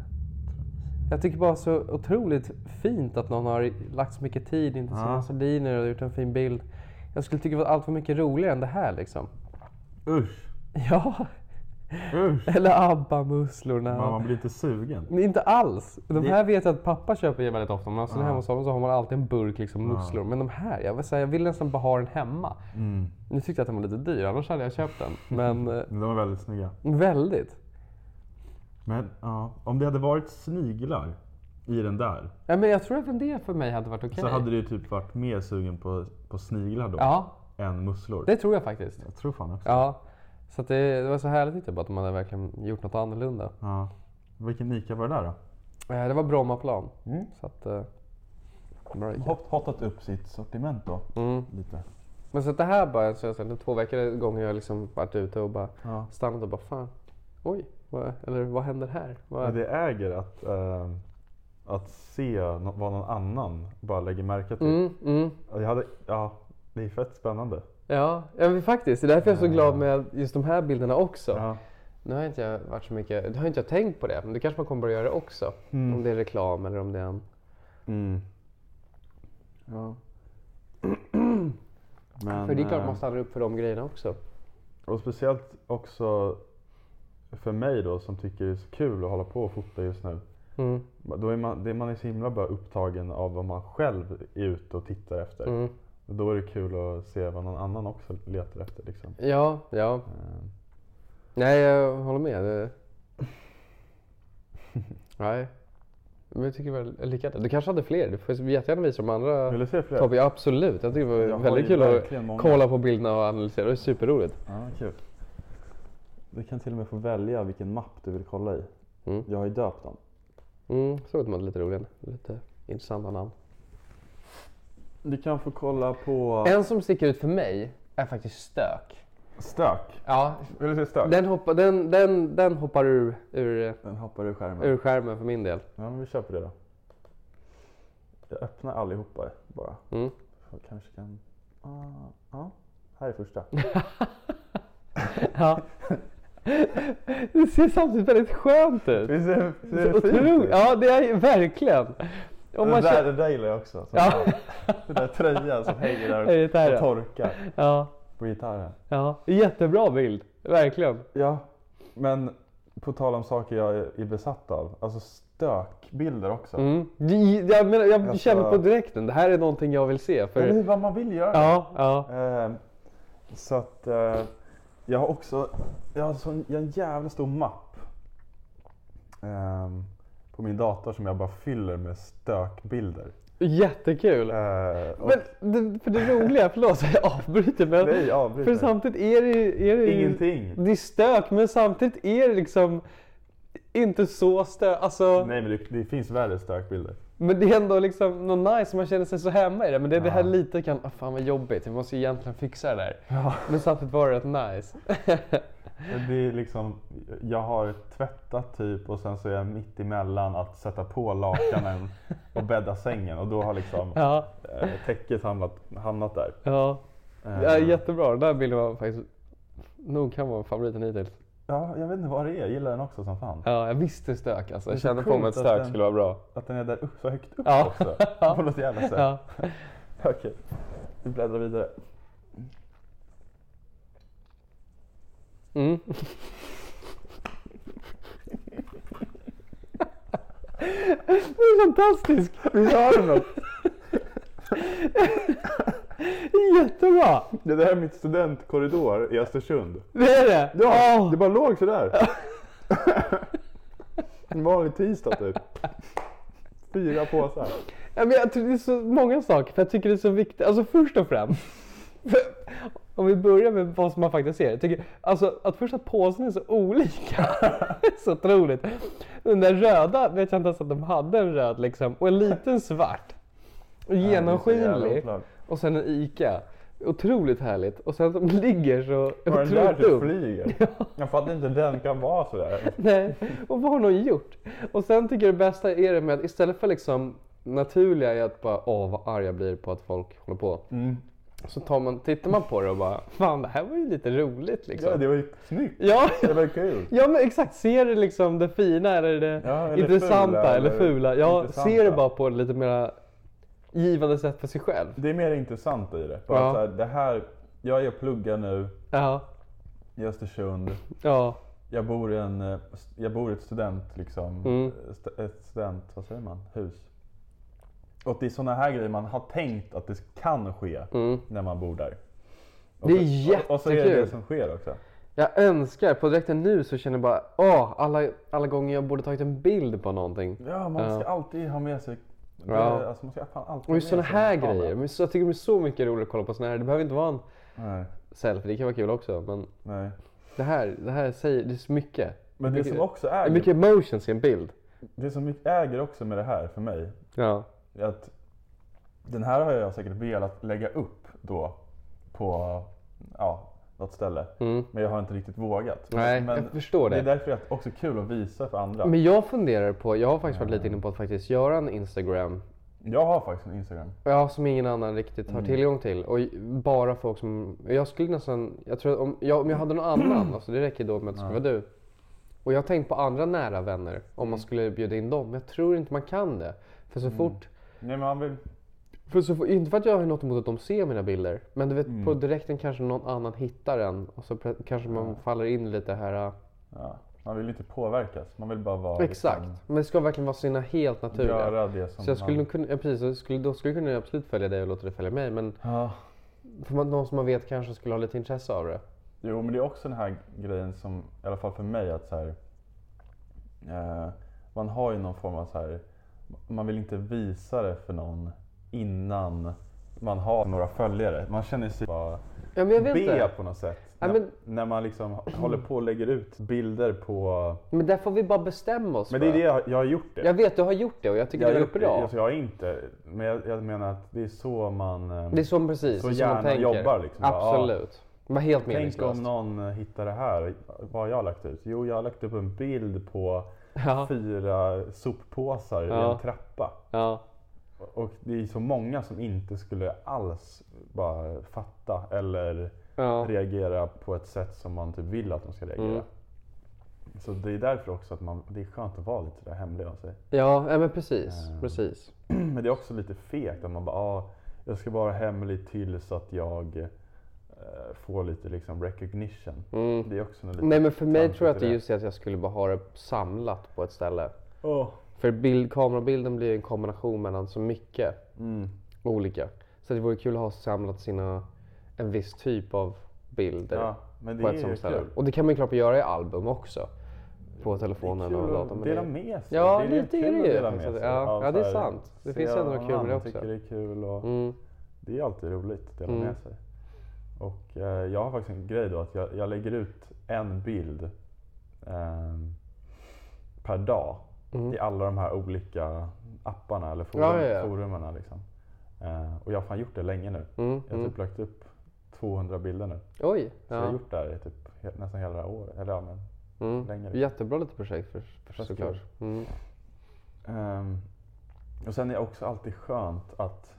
Jag tycker bara så otroligt fint att någon har lagt så mycket tid in till sina Ja. sardiner och gjort en fin bild. Jag skulle tycka att allt var mycket roligare än det här liksom. Usch, Ja, usch. eller ABBA-musslorna. Man, man blir lite sugen. Men inte alls. De Det- här vet jag att pappa köper väldigt ofta. Men alltså hemma hos honom så har man alltid en burk liksom musslor. Men de här, jag vill, säga, jag vill nästan bara ha den hemma. Mm. Nu tyckte jag att den var lite dyr, annars hade jag köpt den. Men eh, De är väldigt snygga. väldigt. Men ja, om det hade varit sniglar i den där Ja, men jag tror även det för mig hade varit okej. så hade du ju typ varit mer sugen på, på sniglar då Ja, än musslor. det tror jag faktiskt. Jag tror fan också. Ja. Så att det, det var så härligt tyckte jag bara att de hade verkligen gjort något annorlunda. Ja. Vilken Ica var det där då? Eh, det var Brommaplan. Mm. Så att, eh, bra gick det. Hot, hotat upp sitt sortiment då. Mm. Lite. men så att det här bara, så jag, så här, två veckor gånger jag liksom varit ute och bara Ja. stannat och bara fan, oj, vad, eller vad händer här? Vad, Men det äger att, eh, att se nå- vad någon annan bara lägger märke till. Mm, mm. Jag hade, ja, det är fett spännande. Ja, ja men faktiskt. Det är därför jag är så glad med just de här bilderna också. Ah. Ja. Nu har inte jag varit så mycket, det har inte jag tänkt på det, men det kanske man kommer börja göra också. Mm. Om det är reklam eller om det är en... Mm. Ja. Men, För det är klart eh, man stannar upp för de grejerna också. Och speciellt också för mig då som tycker det är så kul att hålla på och fota just nu. Mm. Då är man, det är man är så himla bara upptagen av vad man själv är ute och tittar efter. Mm. Och Då är det kul att se vad någon annan också letar efter. Liksom. Ja, ja. Eh, Nej, jag håller med. Det... Nej. Men jag tycker väl lyckat. Du kanske hade fler? Du får jättegärna visa de andra. Vill du se fler? Topp, ja, absolut. Jag tycker det var Jag har väldigt ju kul verkligen att många. kolla på bilderna och analysera. Det är superroligt. Ja, kul. Du kan till och med få välja vilken mapp du vill kolla i. Mm. Jag har ju döpt dem. Mm, såg att de hade lite roliga, lite intressanta namn. Du kan få kolla på En som sticker ut för mig är faktiskt stök. stök. Ja, Vill du se stök? den, hoppa, den, den, den hoppar ur, ur, Den hoppar ur skärmen. ur skärmen för min del. Ja, men vi kör på det då. Jag öppnar allihopa bara. Mm. Jag kanske kan... Ah, ja, här är första. Ja. Det ser samtidigt väldigt skönt ut. Visst är det, Så otroligt. Ja, det är ju verkligen. Om det, man där, känner, det där gillar jag också. Som Ja. Den där tröjan som hänger Är där det och, gitarren? och torkar ja, på gitarren. ja. Jättebra bild. Verkligen. Ja, men på tal om saker jag är är besatt av. Alltså stökbilder också. Mm. Det- Jag, menar, jag Alltså- känner på direkten. Det här är någonting jag vill se. Eller För, hur, vad man vill göra. ja, ja. Eh, så att eh, jag har också jag har sån, jag har en jävla stor mapp ehm, på min dator som jag bara fyller med stökbilder. Jättekul. Eh, och Men det, för det roliga, förlåt att jag avbryter men Nej, avbryt för mig. samtidigt är det, ju- är det ju- Ingenting. Det är stök men samtidigt är det liksom inte så stök. Alltså, Nej men det, det finns värre stökbilder. men det är ändå liksom något nice man känner sig så hemma i det. Men det är det här lite kan, ah, fan vad jobbigt, jag måste ju egentligen fixa det där. Men samtidigt var det rätt nice. Det är liksom, jag har tvättat typ och sen så är jag mitt emellan att sätta på lakanen och bädda sängen och då har liksom ja, eh, täcket hamnat, hamnat där. ja. Eh, ja, jättebra. Den där bilden var faktiskt, nog kan vara favoriten hittills. Ja, jag vet inte vad det är. Jag gillar den också som fan. Ja, jag visste stök alltså. Det är Jag så kände på mig att sjukt att stök den- skulle vara bra. Att den är där upp, så högt upp Ja. också. På något jävla sätt. Ja. Okej, vi bläddrar vidare. Mm. Det är fantastisk! Vi har den något? Jättebra! Det där är mitt studentkorridor i Östersund. Det är det! Ja, Åh! det bara låg sådär. en vanlig tisdag typ. Fyra påsar. Ja, men jag tror det är så många saker, för jag tycker det är så viktigt. Alltså först och främst. för- Om vi börjar med vad som man faktiskt ser. Jag tycker, alltså att först att påsen är så olika. så otroligt. Den där röda vet jag inte ens att de hade en röd liksom. Och en liten svart. Och genomskinlig. och sen en ICA. Otroligt härligt. Och sen att de ligger så Och den där otroligt typ upp. flyger. Jag fattar inte hur den kan vara sådär. Nej, och vad har någon gjort? Och sen tycker jag det bästa är det med att istället för liksom naturliga är att bara åh vad arg jag blir på att folk håller på. Mm. Så tar man, tittar man på det och bara fan det här var ju lite roligt liksom. Ja, det var ju snyggt. ja, Det var kul. ja men exakt, ser du liksom det fina eller det Ja, eller intressanta fula, eller eller fula? Ja, intressanta. ser det bara på det lite mer givande sätt för sig själv. Det är mer intressant i det. Bara Ja. så här, det här, jag är och pluggar nu Ja, i Östersund. ja, Jag bor i, en, eh, jag bor i ett student, liksom, Mm. st- ett student, vad säger man, hus. Och det är sådana här grejer man har tänkt att det kan ske mm. när man bor där. Det är och, och så är det det jättekul. som sker också. Jag önskar, på direkten nu så känner jag bara åh, alla, alla gånger jag borde tagit en bild på någonting. Ja, man ska alltid ha med sig det, Ja. alltså, man ska fan alltid Och just ha sådana med sig här en kamera. grejer. Men så, jag tycker det är så mycket roligt att kolla på sådana här. Det behöver inte vara en Nej, selfie, det kan vara kul också. Men nej. det här, det här säger, det är så mycket. Men det mycket, som också det är äger, mycket emotions i en bild. det som mycket äger också med det här för mig, Ja. är att den här har jag säkert velat lägga upp då på ja, något ställe. Mm. Men jag har inte riktigt vågat. Nej, men jag förstår Det är det. därför det är också kul att visa för andra. Men jag funderar på, jag har faktiskt varit lite inne på att faktiskt göra en Instagram. Jag har faktiskt en Instagram. Ja, som ingen annan riktigt Mm. har tillgång till. Och j- bara folk som, jag skulle nästan, jag tror att om jag, om jag hade någon annan, alltså det räcker då med att det skulle vara du. Och jag har tänkt på andra nära vänner, om Mm. man skulle bjuda in dem. Men jag tror inte man kan det. För så fort Nej, men man vill... För så, får- inte för att jag har något emot att de ser mina bilder, men du vet Mm. på direkten kanske någon annan hittar en och så pre- kanske man faller in i lite här. äh, Ja, man vill inte påverkas. Man vill bara vara... Exakt, liksom, men det ska verkligen vara sina helt naturliga. göra det som så jag skulle man... nog kunna, ja, precis, jag skulle, då skulle jag kunna absolut följa dig och låta dig följa mig, men Ja. för man, någon som man vet kanske skulle ha lite intresse av det. Jo, men det är också den här grejen som, i alla fall för mig, att så här, eh, man har ju någon form av så här, man vill inte visa det för någon innan man har några följare. Man känner sig bara Ja, men jag vet B inte. på något sätt. Ja, när, men- när man liksom håller på och lägger ut bilder på... Men där får vi bara bestämma oss. Men det är för. det jag, jag har gjort det. Jag vet, du har gjort det och jag tycker jag det har är gjort det. bra. Alltså, jag har inte, men jag, jag menar att det är så man... eh, Det är som precis, Så det är som man hjärnan tänker. jobbar liksom, bara, ja. Absolut. Det var helt Tänk meningslöst. om någon hittar det här. Vad har jag lagt ut? Jo, jag har lagt upp en bild på Ja. fyra soppåsar i Ja. en trappa. Ja. Och det är så många som inte skulle alls bara fatta eller Ja. reagera på ett sätt som man typ vill att de ska reagera. Mm. Så det är därför också att man, det är skönt att vara lite där hemlig av sig. Ja, ja, men precis. Eh. precis. Men det är också lite fegt att man bara, ah, jag ska vara hemlig tills att jag eh, får lite liksom recognition. Det är också något lite Nej Mm. men för mig tramsigt tror jag i att det är just det att jag skulle bara ha det samlat på ett ställe. Åh. För bild, kamerabilden blir ju en kombination mellan så mycket Mm. olika. Så det vore kul att ha samlat sina, en viss typ av bilder Ja, men det på är ett ju sånt ställe. kul. Och det kan man ju klart göra i album också. På telefonen Kul och att datorn. men dela det- med sig. Ja, är lite kul är det att ju dela med faktiskt. sig Ja, av ja, det är så här, sant. Det se finns ändå vad något kul med annan det också. tycker det är kul och Mm. det är alltid roligt att dela med sig. Och eh, jag har faktiskt en grej då att jag, jag lägger ut en bild ehm, per dag i alla de här olika apparna eller forum, Mm. Ja, ja, ja. forumerna. Liksom. Eh, och jag har fan gjort det länge nu. Mm, Jag har typ lagt upp 200 bilder nu. Oj! Så jag har Ja. gjort det här i typ he- nästan hela det här året. Eller ja, men Mm. länge. liksom. Jättebra lite projekt för, för Fast såklart. Mm. Ehm, och sen är det också alltid skönt att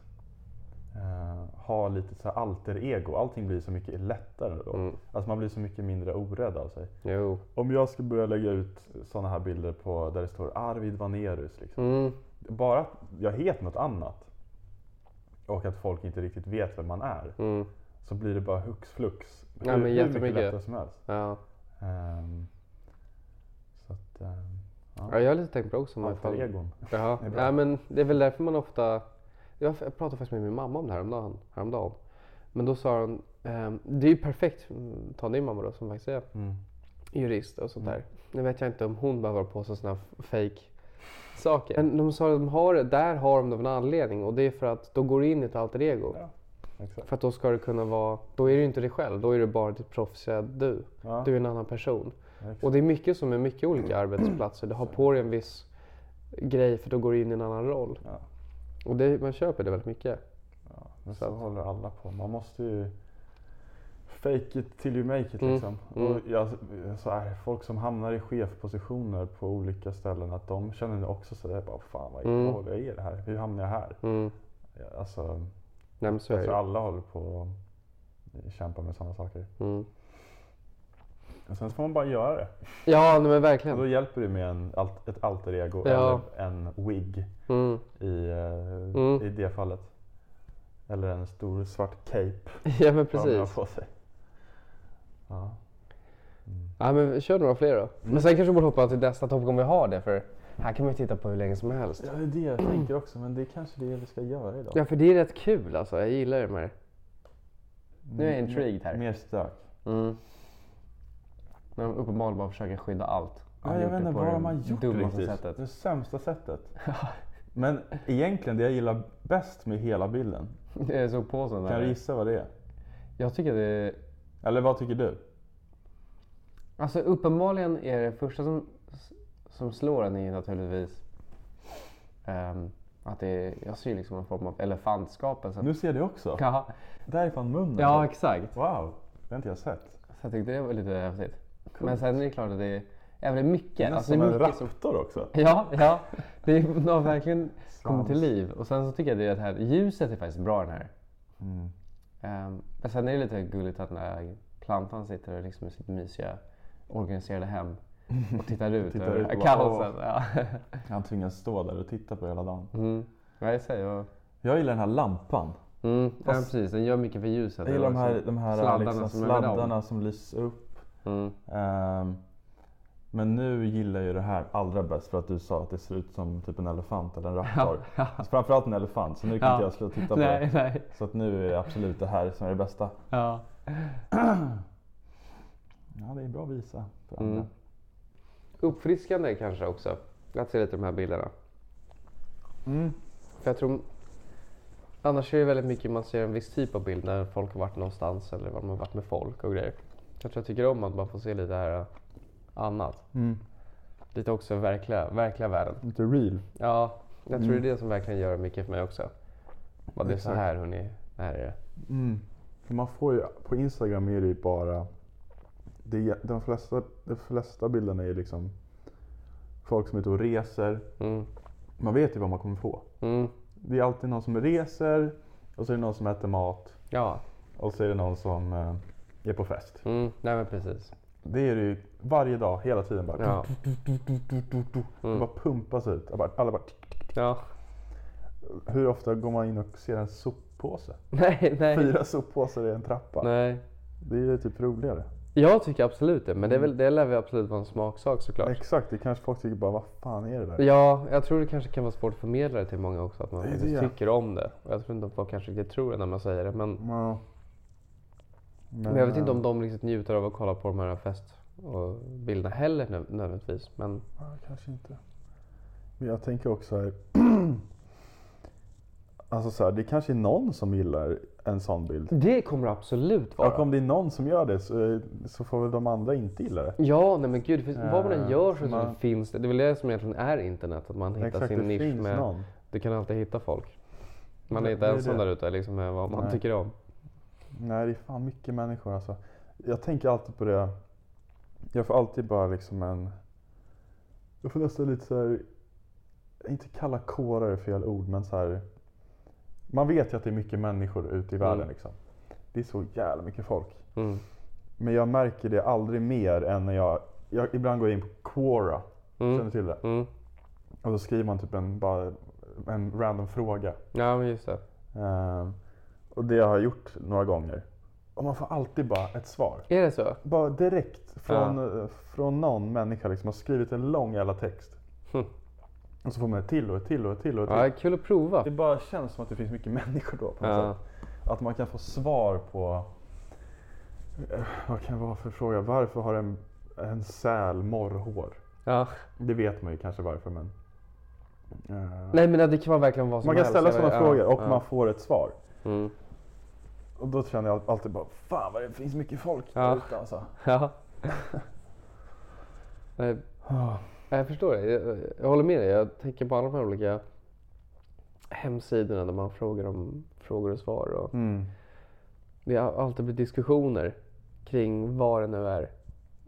eh, ha lite så här alter ego. Allting blir så mycket lättare då. Mm. Alltså man blir så mycket mindre orädd av sig. Jo. Om jag skulle börja lägga ut sådana här bilder på där det står Arvid Vanerus. Liksom. Mm. Bara att jag heter något annat och att folk inte riktigt vet vem man är Mm. så blir det bara hux flux. Ja, men jättemycket. mycket lättare som helst. Ja. Ehm, så att, ehm, ja, jag har lite tänkt på det också. men alter fan- egon. Jaha. Det är bra. Ja, men det är väl därför man ofta... Jag jag pratade faktiskt med min mamma om det här häromdagen. häromdagen. Men då sa hon, ehm, det är ju perfekt, mm, ta din mamma då som faktiskt är Mm. jurist och sånt där. Nu vet jag inte om hon behöver hålla på med sådana fake saker. Men de sa att de har det, där har de det av en anledning och det är för att de går in i ett alter ego. Ja, exakt. För att då ska det kunna vara, då är det ju inte dig själv, då är det bara ditt proffsiga du. Ja. Du är en annan person. Exakt. Och det är mycket som är mycket olika arbetsplatser. Du har på dig en viss grej för då går du in i en annan roll. Ja. Och det, man köper det väldigt mycket. Men Så så, att- håller alla på. Man måste ju fake it till you make it Mm, liksom. mm. Och jag, så här, folk som hamnar i chefpositioner på olika ställen att de känner nu också sådär bara fan vad Mm. vad håller jag i det här? Hur hamnar jag här? Mm. Ja, Alltså, Nej, men så jag är tror det. alla håller på och kämpar med sådana saker. Mm. Och sen får man bara göra det. Ja, nej, men Och då verkligen. hjälper det med en, alt- ett alter ego Ja. eller en wig Mm. i, eh, Mm. i det fallet. Eller en stor svart cape. Ja, vad men de har precis. På sig. Ja. Ja, men kör några fler då. Mm. Men sen kanske vi borde hoppa till nästa topic om vi har det. För här kan man ju titta på hur länge som helst. Ja, det är det jag tänker också, men det är kanske det vi ska göra idag. Ja, för det är rätt kul alltså. Jag gillar det med det. Nu är jag intrigued här. Mer stök. Mm. Men de uppenbarligen bara försöker skydda allt. Ja, jag vet inte vad de har gjort riktigt. Sättet. Det sämsta sättet. men egentligen det jag gillar bäst med hela bilden, Jag såg påsen kan du där. gissa vad det är? Jag tycker det är... Eller vad tycker du? Alltså uppenbarligen är det första som, som slår en är naturligtvis ehm, att det är, jag ser liksom en form av elefantskapelse. Nu ser du också. Ja, Därifrån munnen. ja exakt. Wow, det har inte jag sett. Så jag tyckte det var lite häftigt. Men sen är det klart att det är, ja, men det är mycket. Det är alltså, nästan det är en mycket som, raptor också. ja, ja, det är, de har verkligen kommit till Svans. liv. Och sen så tycker jag det, är det här ljuset är faktiskt bra i den här. Mm. Ehm, men sen är det lite gulligt att den här plantan sitter liksom i sitt mysiga organiserade hem och tittar ut Tittar över ut och bara, kaosen. Ja. Han tvingas stå där och titta på hela dagen. Mm. Ja, jag säger jag. Jag gillar den här lampan. Mm. Ja, precis. Den gör mycket för ljuset. Jag gillar de här, Liksom de här sladdarna liksom, som är med dem. sladdarna som lyser upp. Mm. Ehm, men nu gillar jag ju det här allra bäst för att du sa att det ser ut som typ en elefant eller en raptor. Alltså, Framförallt en elefant, så nu kan Ja. inte jag sluta titta på Nej, det. nej. Så att nu är det absolut det här som är det bästa. Ja. Ja, det är bra att visa för Mm. andra. Uppfriskande kanske också. Att se lite de här bilderna. Mm. För jag tror... Annars är det väldigt mycket man ser en viss typ av bild när folk har varit någonstans eller var man har varit med folk och grejer. Jag tror jag tycker om att man får se lite här eh, annat. Mm. Lite också verkliga, verkliga världen. Lite real. Ja, jag tror det är det som verkligen gör mycket för mig också. Vad det är så Mm. Exakt. här hörni, det här är det. Mm. För man får ju, på Instagram är det ju bara... Det, är- de, flesta, de flesta bilderna är ju liksom folk som är ute och reser. Mm. Man vet ju vad man kommer få. Mm. Det är alltid någon som reser och så är det någon som äter mat. Ja, Och så är det någon som eh, är på fest. mm. nej men precis. Det är det ju varje dag, hela tiden bara. Ja. Mm. Det bara pumpas ut. Alla bara, alla bara, tick. ja. hur ofta går man in och ser en soppåse? Nej, nej. Fyra soppåsar i en trappa. nej. Det är ju typ roligare. Jag tycker absolut det, men det, är väl, det lär väl absolut vara en smaksak såklart. Mm. Exakt, det kanske folk tycker bara, vad fan är det där? Ja, jag tror det kanske kan vara svårt att förmedla det till många också, att man Det är faktiskt det. tycker om det. Och jag tror inte att folk kanske riktigt tror det när man säger det, men, Ja. Men, men jag vet inte eh, om de riktigt njuter av att kolla på de här fest och bilderna heller nö- nödvändigtvis. Men ja, kanske inte. Men jag tänker också här. alltså så här, det kanske är någon som gillar en sån bild. det kommer det absolut vara. Och om det är någon som gör det så, eh, så får väl de andra inte gilla det. Ja, nej men gud, det finns, vad man än Eh, gör så så, man- finns det. Det är väl det som egentligen är internet, att man hittar Exakt, sin det nisch. finns Med, någon. du kan alltid hitta folk. Man är Det- inte det är ensam det. där ute liksom, med vad man Nej. tycker om. Nej, det är fan mycket människor alltså. Jag tänker alltid på det. Jag får alltid bara liksom en... Jag får nästan lite så här... Inte kalla kårar är fel ord, men så här... Man vet ju att det är mycket människor ute i världen. Mm. Liksom. Det är så jävla mycket folk. Mm. Men jag märker det aldrig mer än när jag, jag ibland går jag in på Quora. Mm. Känner du till det? Mm. Och då skriver man typ en, bara en random fråga. Ja, men just det. Ehm, och det har jag gjort några gånger. Och man får alltid bara ett svar. Är det så? Bara direkt från, eh, från någon människa liksom har skrivit en lång jävla text. Hm. Och så får man ett till och ett till och ett till och ett till. Ja, kul att prova. Det bara känns som att det finns mycket människor då på något Ja. sätt. Att man kan få svar på eh, vad kan det vara för fråga? Varför har en, en säl morrhår? Ja. Det vet man ju kanske varför men. eh, Nej men det kan vara verkligen vad som man kan helst. ställa Jag sådana vet- ja, frågor och ja. man får ett svar. Mm. Och då känner jag alltid bara, fan vad det finns mycket folk Ja. där ute alltså. Ja. Nej, Ah, jag förstår det. Jag, jag håller med dig. Jag tänker på alla de här olika hemsidorna där man frågar om frågor och svar. Och Mm. det har alltid blivit diskussioner kring vad det nu är.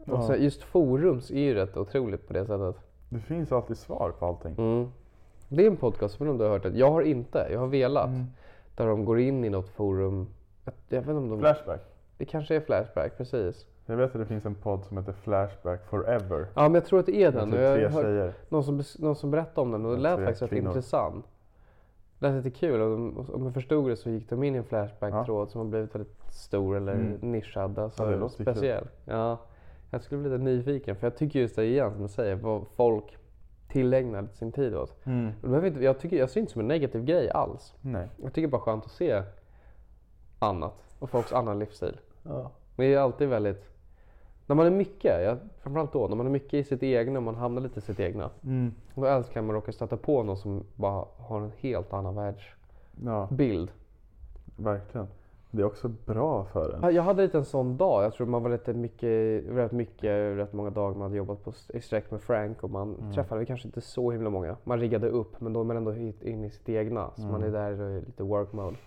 Ja. Och så just forums är ju rätt otroligt på det sättet. Det finns alltid svar på allting. Mm. Det är en podcast, som om du har hört den. Jag har inte. Jag har velat. Mm. Där de går in i något forum. Jag, jag vet inte om de... Flashback. Det kanske är Flashback, precis. Jag vet att det finns en podd som heter Flashback Forever. Ja, men jag tror att det är Med den. typ och jag har tre hört- tjejer. Någon som, bes- någon som berättade om den och det Ja, lät tre faktiskt rätt kvinnor. intressant. Det lät lite kul. och de- och Om jag förstod det så gick de in i en Flashback-tråd som har blivit väldigt stor eller Mm. nischad. Alltså Ja, det låter ju kul. speciell. Ja, jag skulle bli lite nyfiken för jag tycker just det igen som du säger, vad folk tillägnar sin tid åt. Mm. Och det behöver inte- Jag, tycker, jag ser inte som en negativ grej alls. Nej. Jag tycker bara skönt att se annat och folks annan livsstil. Ja. Men det är alltid väldigt... När man är mycket, ja, framförallt då, när man är mycket i sitt egna och man hamnar lite i sitt egna. Mm. Då älskar man att råka stöta på någon som bara har en helt annan världsbild. ja, verkligen. Det är också bra för en. Ja, Jag hade lite en sån dag. Jag tror man var lite mycket, rätt mycket, rätt många dagar man hade jobbat på, i sträck med Frank och man Mm. träffade kanske inte så himla många. Man riggade upp men då är man ändå hit- in i sitt egna. Så man är Mm. där i lite work mode.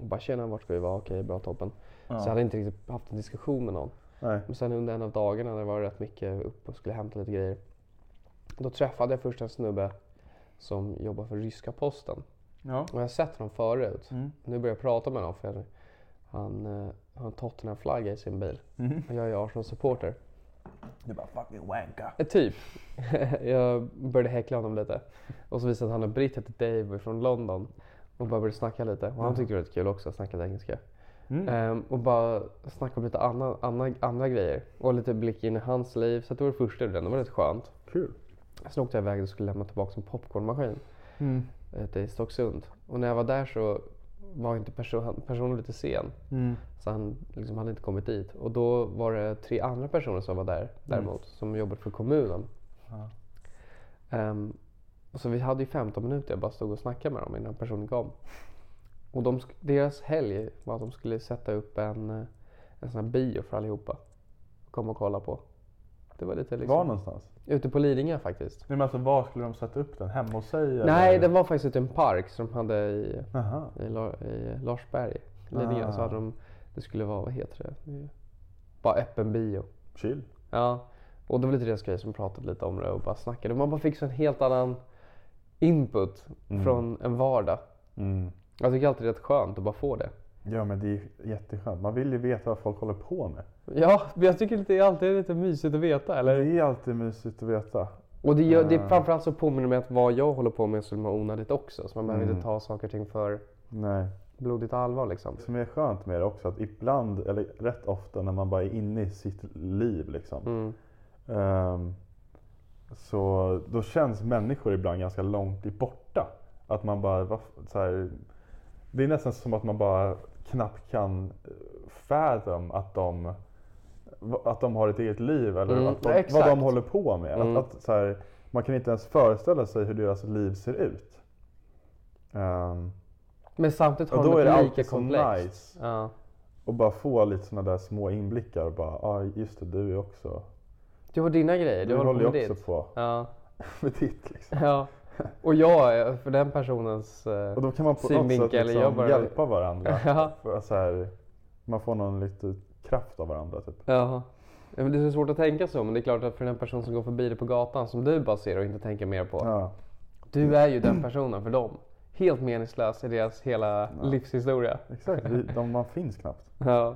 Och bara tjena vart ska vi vara? Okej bra toppen. Så jag hade inte riktigt haft en diskussion med någon. Nej. Men sen under en av dagarna när det var rätt mycket upp och skulle hämta lite grejer. Då träffade jag först en snubbe som jobbar för ryska posten. Ja. Och jag har sett honom förut. Mm. Nu börjar jag prata med honom för jag, han eh, har en Tottenham-flagga i sin bil. Och jag är Arsenal-supporter. Du Mhm. bara fucking wanka. Eh, typ. jag började häckla honom lite. Och så visade han en britt, hette Dave och är från London. Och bara började snacka lite. Och Mm. han tyckte det var rätt kul också, att snacka engelska. Ehm, och bara snacka om lite anna, anna, andra grejer. Och lite blick in i hans liv. Så att det var det första ur den, det var rätt skönt. Kul. Sen åkte jag iväg och skulle lämna tillbaka en popcornmaskin mm. i Stocksund. Och när jag var där så var inte perso- personen lite sen. Så han liksom hade inte kommit dit. Och då var det tre andra personer som var där däremot, som jobbade för kommunen. Ehm, och så vi hade ju 15 minuter, jag bara stod och snackade med dem innan personen kom. Och de, sk- deras helg var att de skulle sätta upp en, eh, en sån här bio för allihopa. Komma och kolla på. Det var lite liksom... Var någonstans? Ute på Lidingö faktiskt. Nej, men alltså, var skulle de sätta upp den? Hemma hos sig? Nej, eller? den var faktiskt ute i en park som de hade i, Aha. i, La- i Larsberg. i Lidingö. Så Ah. hade de, det skulle vara, vad heter det? Det är Bara öppen bio. Chill. Ja. Och det var lite deras grej som pratade lite om det och bara snackade. Man bara fick så en helt annan input från en vardag. Mm. Jag tycker alltid det är rätt skönt att bara få det. Ja men det är jätteskönt. Man vill ju veta vad folk håller på med. Ja, men jag tycker det är alltid lite mysigt att veta. Eller? Ah. Det är alltid mysigt att veta. Och det, gör, det är framförallt så påminner mig att vad jag håller på med är så himla onödigt också. Så man behöver inte ta saker och ting för Nej. blodigt allvar liksom. som är skönt med det också att ibland, eller rätt ofta när man bara är inne i sitt liv liksom. Mm. ehm, så då känns människor ibland ganska långt i borta. Att man bara, vad f- så här, det är nästan som att man bara knappt kan eh, fathom att de, va- att de har ett eget liv eller Mm, att de, vad exakt. Mm. de håller på med. Att, att, så här, man kan inte ens föreställa sig hur deras liv ser ut. Ehm, Men samtidigt har och då de är det ett lika alltid så komplext. nice Ja. och bara få lite sådana där små inblickar och bara, ja ah, just det, du är också, Du har dina grejer, du, du, håller på håller med ju också ditt. på Ja. med ditt liksom. ja. Och jag är för den personens... eh, Och då kan man på något sätt Synvinkel, liksom jag bara- hjälpa varandra. Ja. För att så här, man får någon lite kraft av varandra typ. Ja. Ja, men Det är så svårt att tänka så, men det är klart att för den person som går förbi dig på gatan som du bara ser och inte tänker mer på. Ja, Du är ju den personen för dem. helt meningslös i deras hela livshistoria. Exakt, vi- de, man finns knappt. Ja.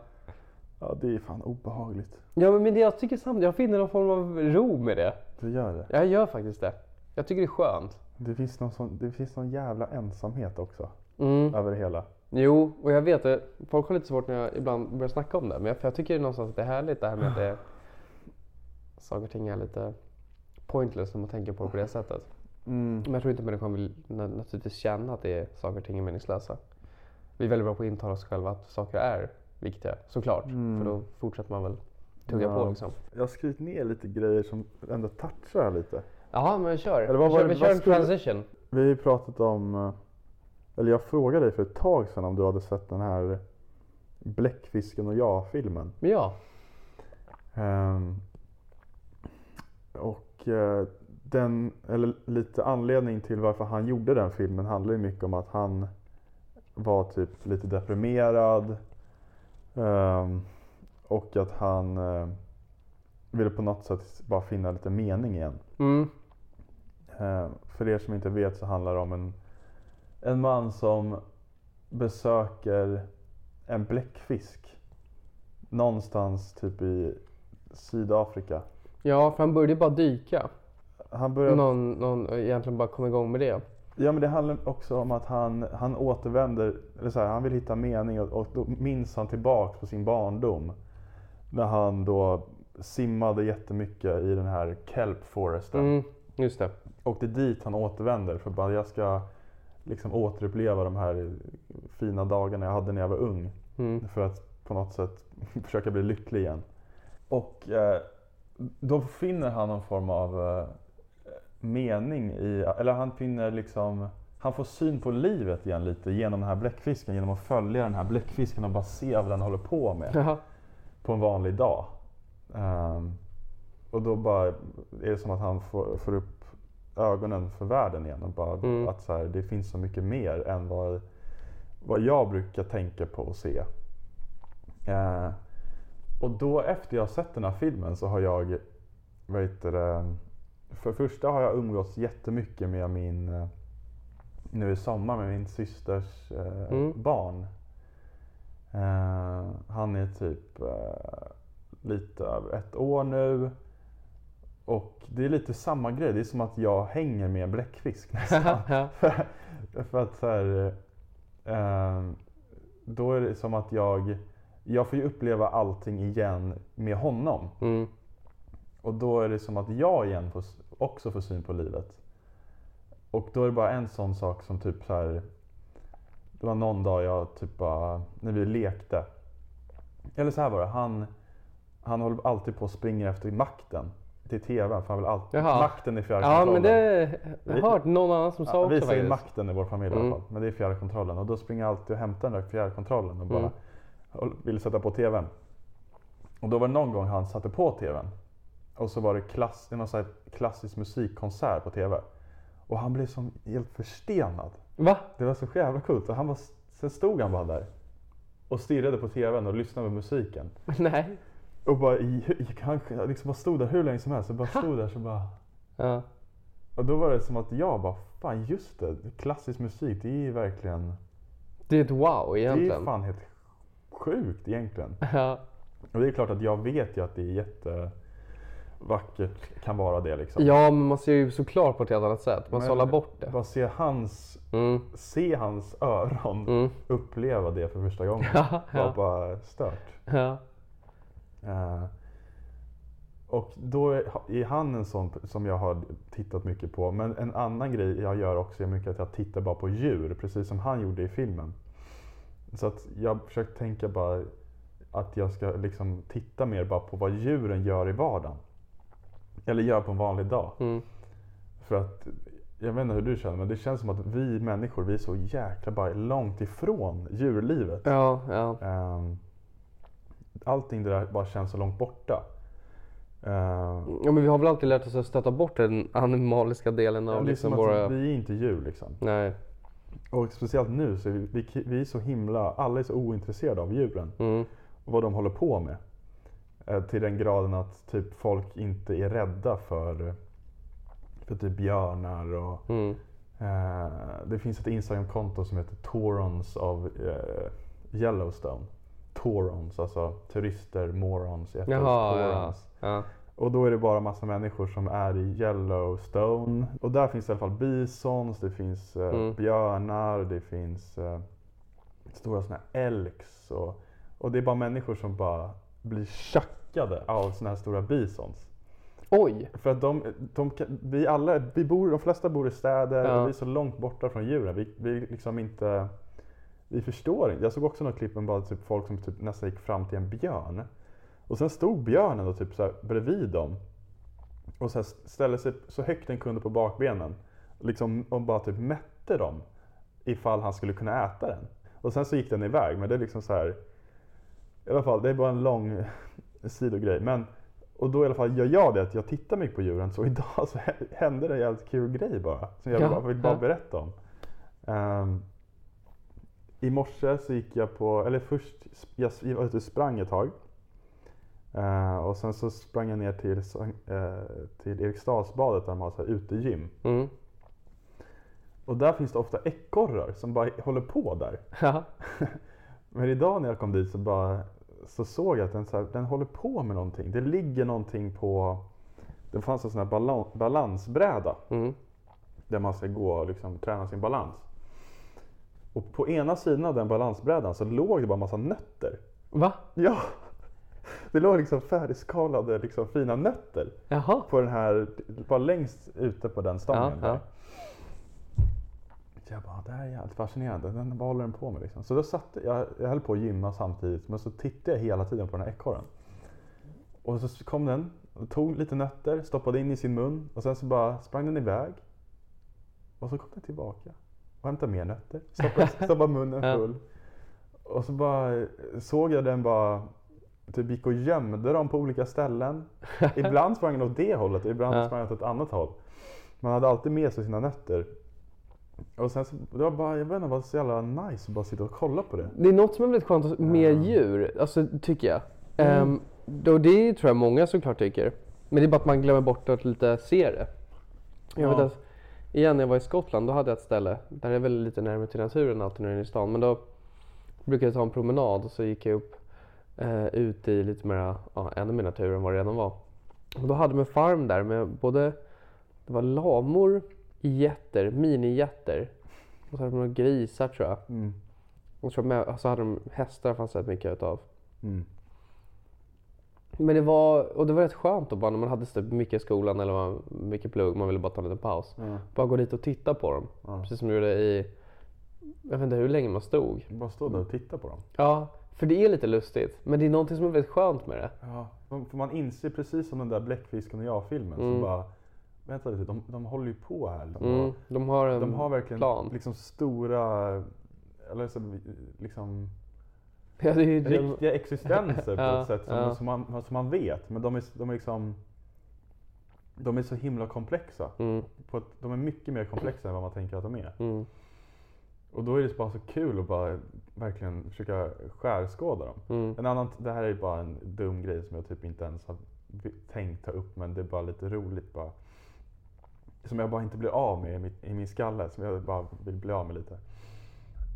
Ja, det är fan obehagligt. ja men- men jag tycker samtidigt, jag finner någon form av ro med det. Det gör det. Jag gör faktiskt det. Jag tycker det är skönt. Det finns någon, sån, det finns någon jävla ensamhet också. Mm. Över det hela. Jo, och jag vet det. Folk har lite svårt när jag ibland börjar snacka om det. Men jag, för jag tycker någonstans att det är härligt det här med att det, saker och ting är lite pointless när man tänker på det på det sättet. Men jag tror inte människan vill na- naturligtvis känna att det är saker och ting är meningslösa. Vi är väldigt bra på att intala oss själva att saker är viktiga, såklart. För då fortsätter man väl tugga Mm. Ja. på liksom. Jag har skrivit ner lite grejer som ändå touchar här lite. Jaha, men kör. Eller vad vi var kör, det- vi vad kör en skulle- transition. Vi har ju pratat om, eh, eller jag frågade dig för ett tag sedan om du hade sett den här Bläckfisken och jag-filmen. Men ja. Ehm, och eh, den, eller lite anledning till varför han gjorde den filmen handlar ju mycket om att han var typ lite deprimerad. ehm, och att han eh, ville på något sätt bara finna lite mening igen. Mm. Eh, För er som inte vet så handlar det om en, en man som besöker en bläckfisk någonstans typ i Sydafrika. Ja, för han började ju bara dyka. Han börjar, Någon, någon egentligen bara kom igång med det. ja, men det handlar också om att han, han återvänder, eller så här, han vill hitta mening och, och då minns han tillbaks på sin barndom. När han då simmade jättemycket i den här kelp foresten. Mm, just det. Och det är dit han återvänder för bara jag ska liksom återuppleva de här fina dagarna jag hade när jag var ung. Mm. För att på något sätt försöka bli lycklig igen. Och eh, då finner han någon form av eh, mening i, eller han finner liksom, han får syn på livet igen lite genom den här bläckfisken. Genom att följa den här bläckfisken och bara se vad den håller på med Jaha. på en vanlig dag. Ehm, och då bara är det som att han får, får upp ögonen för världen igen. Och bara Mm. att så här, det finns så mycket mer än vad, vad jag brukar tänka på och se. Eh, och då efter jag har sett den här filmen så har jag, vad heter det, för det första har jag umgåtts jättemycket med min, eh, nu i sommar med min systers eh, Mm. barn. Eh, han är typ eh, lite över ett år nu. Och det är lite samma grej. Det är som att jag hänger med en bläckfisk nästan. Ja. för, för att så här, eh, då är det som att jag, jag får ju uppleva allting igen med honom. Mm. Och då är det som att jag igen får, också får syn på livet. Och då är det bara en sån sak som typ så här. Det var någon dag jag typ bara, när vi lekte. Eller så här var det, han, han håller alltid på och springer efter makten till tvn. För han vill alltid, Jaha. makten är Ja, fjärrkontrollen. men det jag har Vi- jag hört någon annan som sa Ja, vi också säger faktiskt. makten i vår familj i Mm. alla fall. Men det är fjärrkontrollen. Och då springer jag alltid och hämtar den där fjärrkontrollen och bara Mm. och vill sätta på tvn. Och då var det någon gång han satte på tvn. Och så var det klass, det var så här klassisk musikkonsert på tv. Och han blev som helt förstenad. Va? Det var så jävla coolt. Och han var, sen stod han bara där och stirrade på tvn och lyssnade på musiken. Nej. Och bara, gick, han liksom bara stod där hur länge som helst och bara stod där så bara Ja. och då var det som att jag bara, fan just det, klassisk musik det är ju verkligen, Det är ett wow det är ju egentligen. fan helt sjukt egentligen. Ja. Och det är klart att jag vet ju att det är jättevackert, kan vara det liksom. ja, men man ser ju såklart på ett helt annat sätt. Man Men sållar bort det. Bara se hans, Mm. se hans öron Mm. uppleva det för första gången. Ja, Det var ja, bara stört. ja. Eh, och då är är han en sån som jag har tittat mycket på. Men en annan grej jag gör också är mycket att jag tittar bara på djur, precis som han gjorde i filmen. Så att jag försöker tänka bara att jag ska liksom titta mer bara på vad djuren gör i vardagen. Eller gör på en vanlig dag. Mm. För att, jag vet inte hur du känner, men det känns som att vi människor, vi är så jäkla bara långt ifrån djurlivet. ja, ja. Ehm, Allting det där bara känns så långt borta. Ehm, ja, men vi har väl alltid lärt oss att stöta bort den animaliska delen det är av liksom som att våra... Vi är inte djur liksom. Nej. Och speciellt nu så är vi, vi, vi är så himla, alla är så ointresserade av djuren Mm. och vad de håller på med. Eh, Till den graden att typ folk inte är rädda för, för typ björnar och Mm. Eh, det finns ett Instagramkonto som heter Torons av eh, Yellowstone. Torons, alltså turister, morons. i ett ord, Jaha, ja. Torons. ja. Och då är det bara massa människor som är i Yellowstone. Och där finns i alla fall bisons, det finns eh, Mm. björnar, det finns eh, stora sådana här elks. Och, och det är bara människor som bara blir tjackade av sådana här stora bisons. Oj! För att de, de, kan- vi alla, vi bor, de flesta bor i städer Ja. och vi är så långt borta från djuren. Vi, vi liksom inte, vi förstår inte. Jag såg också något klipp om bara typ folk som typ nästan gick fram till en björn. Och sen stod björnen då typ så här bredvid dem. Och så här ställde sig så högt den kunde på bakbenen. Liksom, och bara typ mätte dem. Ifall han skulle kunna äta den. Och sen så gick den iväg. Men det är liksom så här. I alla fall, det är bara en lång sidogrej. Men, och då i alla fall gör jag det att jag tittar mycket på djuren. Så idag så hände det en jävligt kul grej bara. Som jag Ja, bara, vill bara ja. berätta om. Ehm, I morse så gick jag på, eller först, jag var ute och sprang ett tag. Eh, och sen så sprang jag ner till, Sank- eh, till Eriksdalsbadet där de har så här utegym. Mm. Och där finns det ofta ekorrar som bara håller på där. Ja. Men idag när jag kom dit så, bara, så såg jag att den, så här, den håller på med någonting. Det ligger någonting på... Det fanns en sån här balan, balansbräda Mm. där man ska gå och liksom träna sin balans. Och på ena sidan av den balansbrädan så låg det bara massa nötter. Va? Ja! Det låg liksom färdigskalade liksom fina nötter. Jaha. på den här, bara längst ute på den stången. Ja, där. ja. Så jag bara, det här är jävligt fascinerande. Den, vad håller den på med liksom? Så då satt jag, jag höll på att gymma samtidigt men så tittade jag hela tiden på den här ekorren. Och så kom den, och tog lite nötter, stoppade in i sin mun och sen så bara sprang den iväg. Och så kom den tillbaka och hämtade mer nötter, stoppade, stoppade munnen Ja. full. Och så bara såg jag den bara typ gick och gömde dem på olika ställen. Ibland sprang den åt det hållet och ibland Ja. sprang den åt ett annat håll. Man hade alltid med sig sina nötter. Och sen så, det var bara, jag vet inte, vad så jävla nice att bara sitta och kolla på det. Det är något som är väldigt skönt med djur, alltså, tycker jag. Ehm, då det tror jag många såklart tycker. Men det är bara att man glömmer bort att lite se det. Jag vet Ja. att, igen när jag var i Skottland, då hade jag ett ställe, där är väl lite närmare till naturen alltid när jag är i stan. Men då brukade jag ta en promenad och så gick jag upp eh, ut i lite mer, ja, ännu mer natur än vad det redan var. Och då hade de en farm där med både, det var lamor, getter, minijätter och så hade de några grisar tror jag. Mm. Och så, med, så hade de hästar fanns det rätt mycket utav. Mm. Men det var, och det var rätt skönt då bara när man hade så mycket i skolan eller man, mycket plugg, man ville bara ta en liten paus. Ja. Bara gå dit och titta på dem. Ja. Precis som jag gjorde i, jag vet inte hur länge man stod. Bara stå där och titta på dem. Ja, för det är lite lustigt. Men det är någonting som är väldigt skönt med det. Ja. För man inser precis som den där Bläckfisken och jag-filmen. Mm. Så bara, vänta lite, de, de håller ju på här. De, Mm, de har en har, de har verkligen plan. liksom stora, eller så, liksom Ja, det är ju de, riktiga existenser på Ja, ett sätt som, ja. som, man, som man vet. Men de är, de är liksom de är så himla komplexa. mm, På ett, de är mycket mer komplexa än vad man tänker att de är. mm, Och då är det bara så kul att bara verkligen försöka skärskåda dem. mm. En annan, det här är bara en dum grej som jag typ inte ens har vi- tänkt ta upp men det är bara lite roligt bara. Som jag bara inte blir av med i, mitt, i min skalle, som jag bara vill bli av med lite.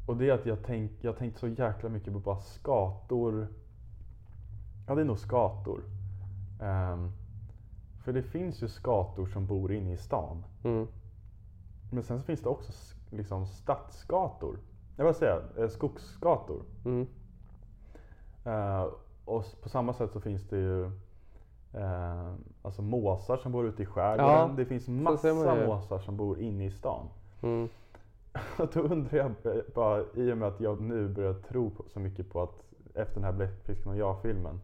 Och det är att jag tänk, jag har tänkt så jäkla mycket på bara skator. Ja, det är nog skator. Ehm, för det finns ju skator som bor inne i stan. Mm. Men sen så finns det också s- liksom stadsskator. Jag vill säga eh, skogsskator. Mm. Eh, och s- på samma sätt så finns det ju eh, alltså måsar som bor ute i skärgården. Ja, det finns ser man massa ju. måsar som bor inne i stan. Mm. Och då undrar jag b- bara, i och med att jag nu börjar tro på, så mycket på att efter den här Bläckfisken och jag-filmen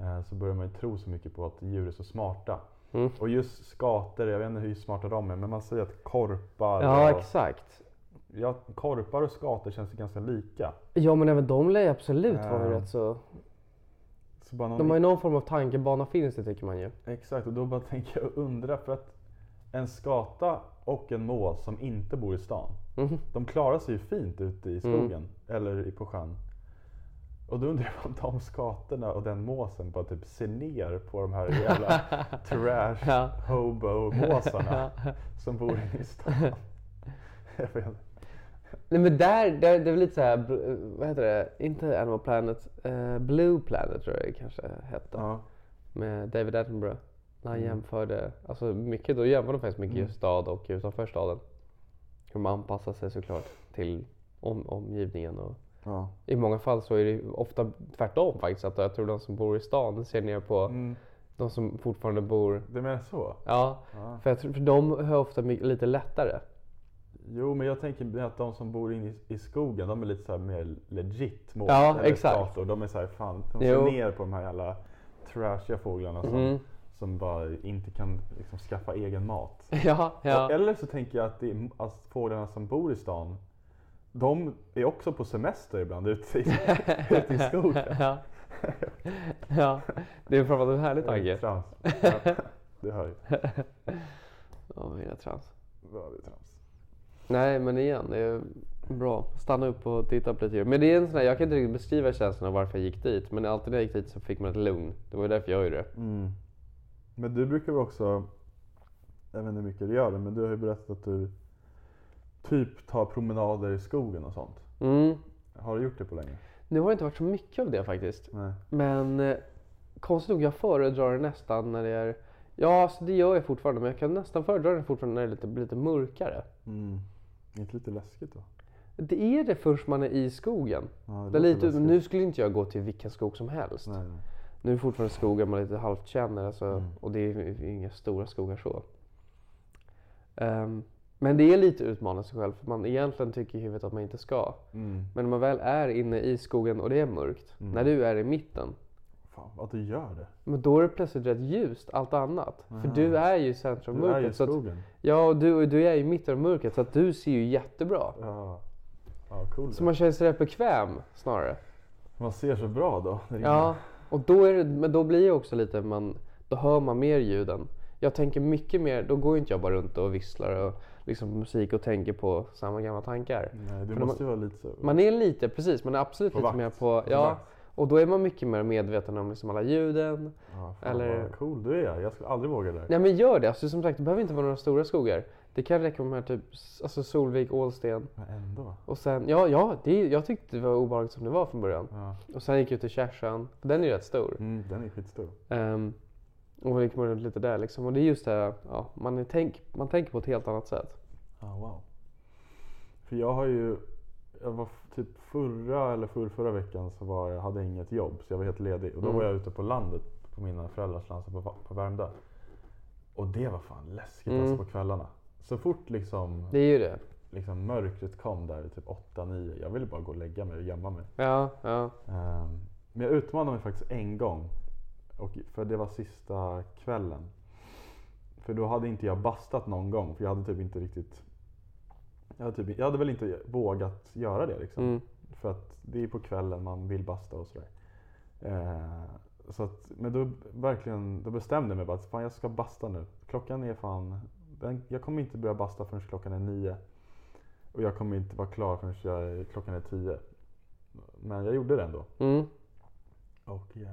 eh, så börjar man ju tro så mycket på att djur är så smarta. Mm. Och just skator, jag vet inte hur smarta de är, men man säger att korpar, Ja, och, exakt. ja, korpar och skator känns ju ganska lika. Ja, men även de lär ju absolut vara Ja. rätt så... Så bara någon De har ju någon form av tankebana finns det tycker man ju. Exakt, och då bara tänker jag undra för att en skata och en mås som inte bor i stan, Mhm. de klarar sig ju fint ute i skogen eller i- på sjön. Och då undrar jag om de skatorna och den måsen bara typ ser ner på de här jävla trash Ja. hobo-måsarna som bor inne i stan. Jag vet inte. Nej men där, där det är väl lite så här, bl- vad heter det, inte Animal Planet, eh, Blue Planet tror jag det kanske hette. Ja. Med David Attenborough. När han jämförde, alltså mycket, då jämförde de faktiskt mycket mm. stad och utanför staden. Hur man anpassar sig såklart till om, omgivningen och ja. i många fall så är det ju ofta tvärtom faktiskt. Att jag tror de som bor i stan ser ner på de som fortfarande bor... Du menar så? Ja, För, jag tror, för de har ofta my- lite lättare. Jo, men jag tänker att de som bor inne i, i skogen, de är lite så här mer legit mot Ja, eller exakt. stator. De är så här, fan, de ser Jo. ner på de här jävla trashiga fåglarna som, Mm. som bara inte kan liksom, skaffa egen mat. Ja, ja. Och- Eller så tänker jag att, det är, att fåglarna som bor i stan, de är också på semester ibland ute i, ute i skogen. ja. ja, det är framförallt en härlig tanke. Trams. Ja, du hör ju. Ja, mina trams. Ja, det är trams. Nej, men igen, det är bra. Stanna upp och titta på lite. Men det är en sån här, jag kan inte riktigt beskriva känslan av varför jag gick dit. Men alltid när jag gick dit så fick man ett lugn. Det var ju därför jag gjorde det. Mm. Men du brukar väl också, jag vet inte hur mycket du gör det, men du har ju berättat att du typ tar promenader i skogen och sånt. Mm. Har du gjort det på länge? Nu har det inte varit så mycket av det faktiskt. Nej. Men eh, konstigt nog, jag föredrar det nästan när det är... Ja, alltså det gör jag fortfarande, men jag kan nästan föredra det fortfarande när det är lite, blir lite mörkare. Mm. Det är inte lite läskigt då? Det är det först man är i skogen. Ja, det det är låter lite, läskigt. nu skulle inte jag gå till vilken skog som helst. Nej, nej. Nu är det fortfarande skogar man lite halvt känner alltså, Mm. och det är ju inga stora skogar så. Ehm, men det är lite utmanande sig själv för man egentligen tycker i huvudet att man inte ska. Mm. Men när man väl är inne i skogen och det är mörkt, när du är i mitten, Fan, att du gör det. men då är det plötsligt rätt ljust allt annat. För du är ju i centrum av Du är ju i mörkret. så att- skogen. Ja, och du, du är i mitten av mörkret så att du ser ju jättebra. Ja, ja cool. Så man känner sig rätt bekväm snarare. Man ser så bra då. när det Ja, och då, är det, men då blir det också lite, man, då hör man mer ljuden. Jag tänker mycket mer, då går ju inte jag bara runt och visslar och liksom på musik och tänker på samma gamla tankar. regnar. Nej, du För när måste man, ju vara lite så. man är lite, precis, man är absolut lite vakt. mer på, På ja, vakt. och då är man mycket mer medveten om liksom alla ljuden. ja, fan, eller- Vad cool du är. Jag skulle aldrig våga det. Nej men gör det, alltså, som sagt det behöver inte vara några stora skogar. Det kan räcka med de här typ, s- alltså Solvik, Ålsten Men ändå. och sen, ja, ja, det, jag tyckte det var obehagligt som det var från början. Ja. Och sen gick jag ut till Kärsön, för den är ju rätt stor. Mm, den är skitstor. Um, och vi kommer runt lite där liksom. Och det är just det här, ja, man, är tänk, man tänker på ett helt annat sätt. Ja, Ah, wow. För jag har ju, jag var f- typ förra eller förrförra veckan så var jag, hade jag inget jobb så jag var helt ledig. Och då var jag ute på landet på mina föräldrars landskap på, på Värmdö. Och det var fan läskigt alltså på kvällarna. Så fort liksom, Det är ju det. liksom mörkret kom där typ 8-9, jag ville bara gå och lägga mig och gömma mig. Ja, ja. Ehm, Men jag utmanade mig faktiskt en gång. Och för det var sista kvällen. För då hade inte jag bastat någon gång. För jag hade typ inte riktigt... Jag hade, typ, jag hade väl inte vågat göra det liksom. Mm. För att det är på kvällen man vill basta och sådär. Eh, så att, men då, verkligen, då bestämde jag mig bara att fan jag ska basta nu. Klockan är fan... Den, jag kommer inte börja basta förrän klockan är nio. Och jag kommer inte vara klar förrän jag, klockan är tio. Men jag gjorde det ändå. Mm. Och eh,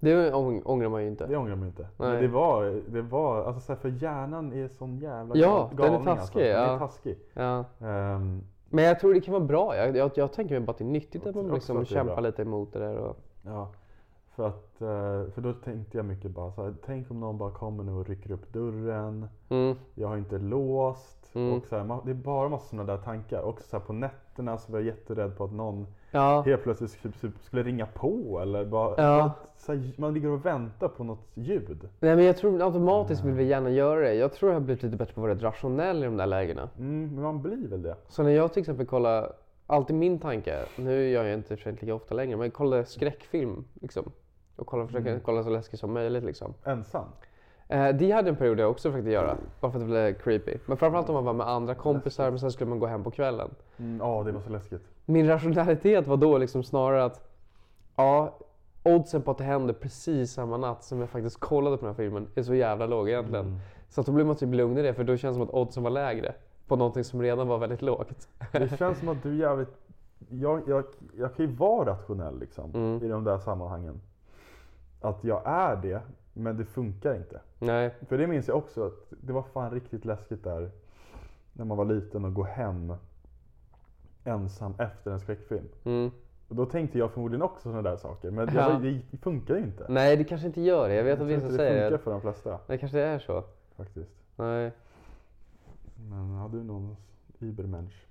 Det ång- ångrar man ju inte. det ångrar mig inte. Nej. Men det var, det var alltså så här, för hjärnan är sån jävla Ja, gal- den är galning, taskig, Alltså. Den ja. är taskig. Ja. Ehm, Men jag tror det kan vara bra. Jag, jag, jag tänker mig bara att det är nyttigt att tror också man liksom att det är kämpar bra. lite emot det där. Och... ja. för, att, eh, för då tänkte jag mycket bara så här, tänk om någon bara kommer nu och rycker upp dörren. Mm. Jag har inte låst. Mm. Och så här, man, det är bara massa sådana där tankar. Också så här, på nätterna så var jag jätterädd på att någon Ja. helt plötsligt typ, typ skulle ringa på. Eller bara, Ja. att, så här, man ligger och väntar på något ljud. Nej men jag tror automatiskt vill vi gärna göra det. Jag tror jag har blivit lite bättre på att vara rätt rationell i de där lägena. Mm, men man blir väl det. Så när jag till exempel kollar, alltid min tanke, nu gör jag inte i och för sig inte lika ofta längre, men jag kollar skräckfilm liksom. Och kollar, försöker kolla så läskig som möjligt liksom. Ensam. Eh, det hade en period jag också försökte göra, bara för att det blev creepy. Men framförallt om man var med andra kompisar, men sen skulle man gå hem på kvällen. Ja, mm, ja, det var så läskigt. Min rationalitet var då liksom snarare att, ja, oddsen på att det händer precis samma natt som jag faktiskt kollade på den här filmen är så jävla låg egentligen. Så att då blir man typ lugn i det, för då känns det som att oddsen var lägre på någonting som redan var väldigt lågt. Det känns som att du är jävligt... Jag, jag, jag kan ju vara rationell liksom, Mm. i de där sammanhangen. Att jag är det, men det funkar inte. Nej. För det minns jag också, att det var fan riktigt läskigt där. när man var liten och gå hem ensam efter en skräckfilm. Mm. Och då tänkte jag förmodligen också sådana där saker, men Ja. jag, det funkar ju inte. Nej, det kanske inte gör det. Jag vet Jag att tror vissa inte det säger funkar det. för de flesta Det kanske är så. faktiskt. Nej. Men ja, du är någon übermensch.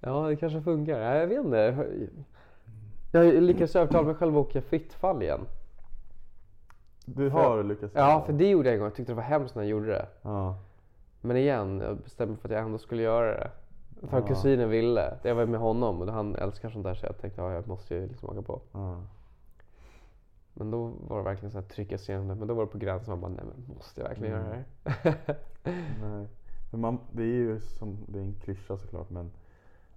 Ja, det kanske funkar. Nej, jag vet inte. Jag lyckades övertala mig själv att åka fittfall igen. Du har lyckats. Ja, för det gjorde jag en gång. Jag tyckte det var hemskt när jag gjorde det. Ja. Men igen, jag bestämde mig för att jag ändå skulle göra det. För Ja. kusinen ville. Jag var med honom och han älskar sånt där så jag tänkte att jag måste ju liksom åka på. ja. Men då var det verkligen så här trycka sig igenom det. Men då var det på gränsen. Man bara, nej men måste jag verkligen göra det här? Nej. Men man, det är ju som, det är en klyscha såklart men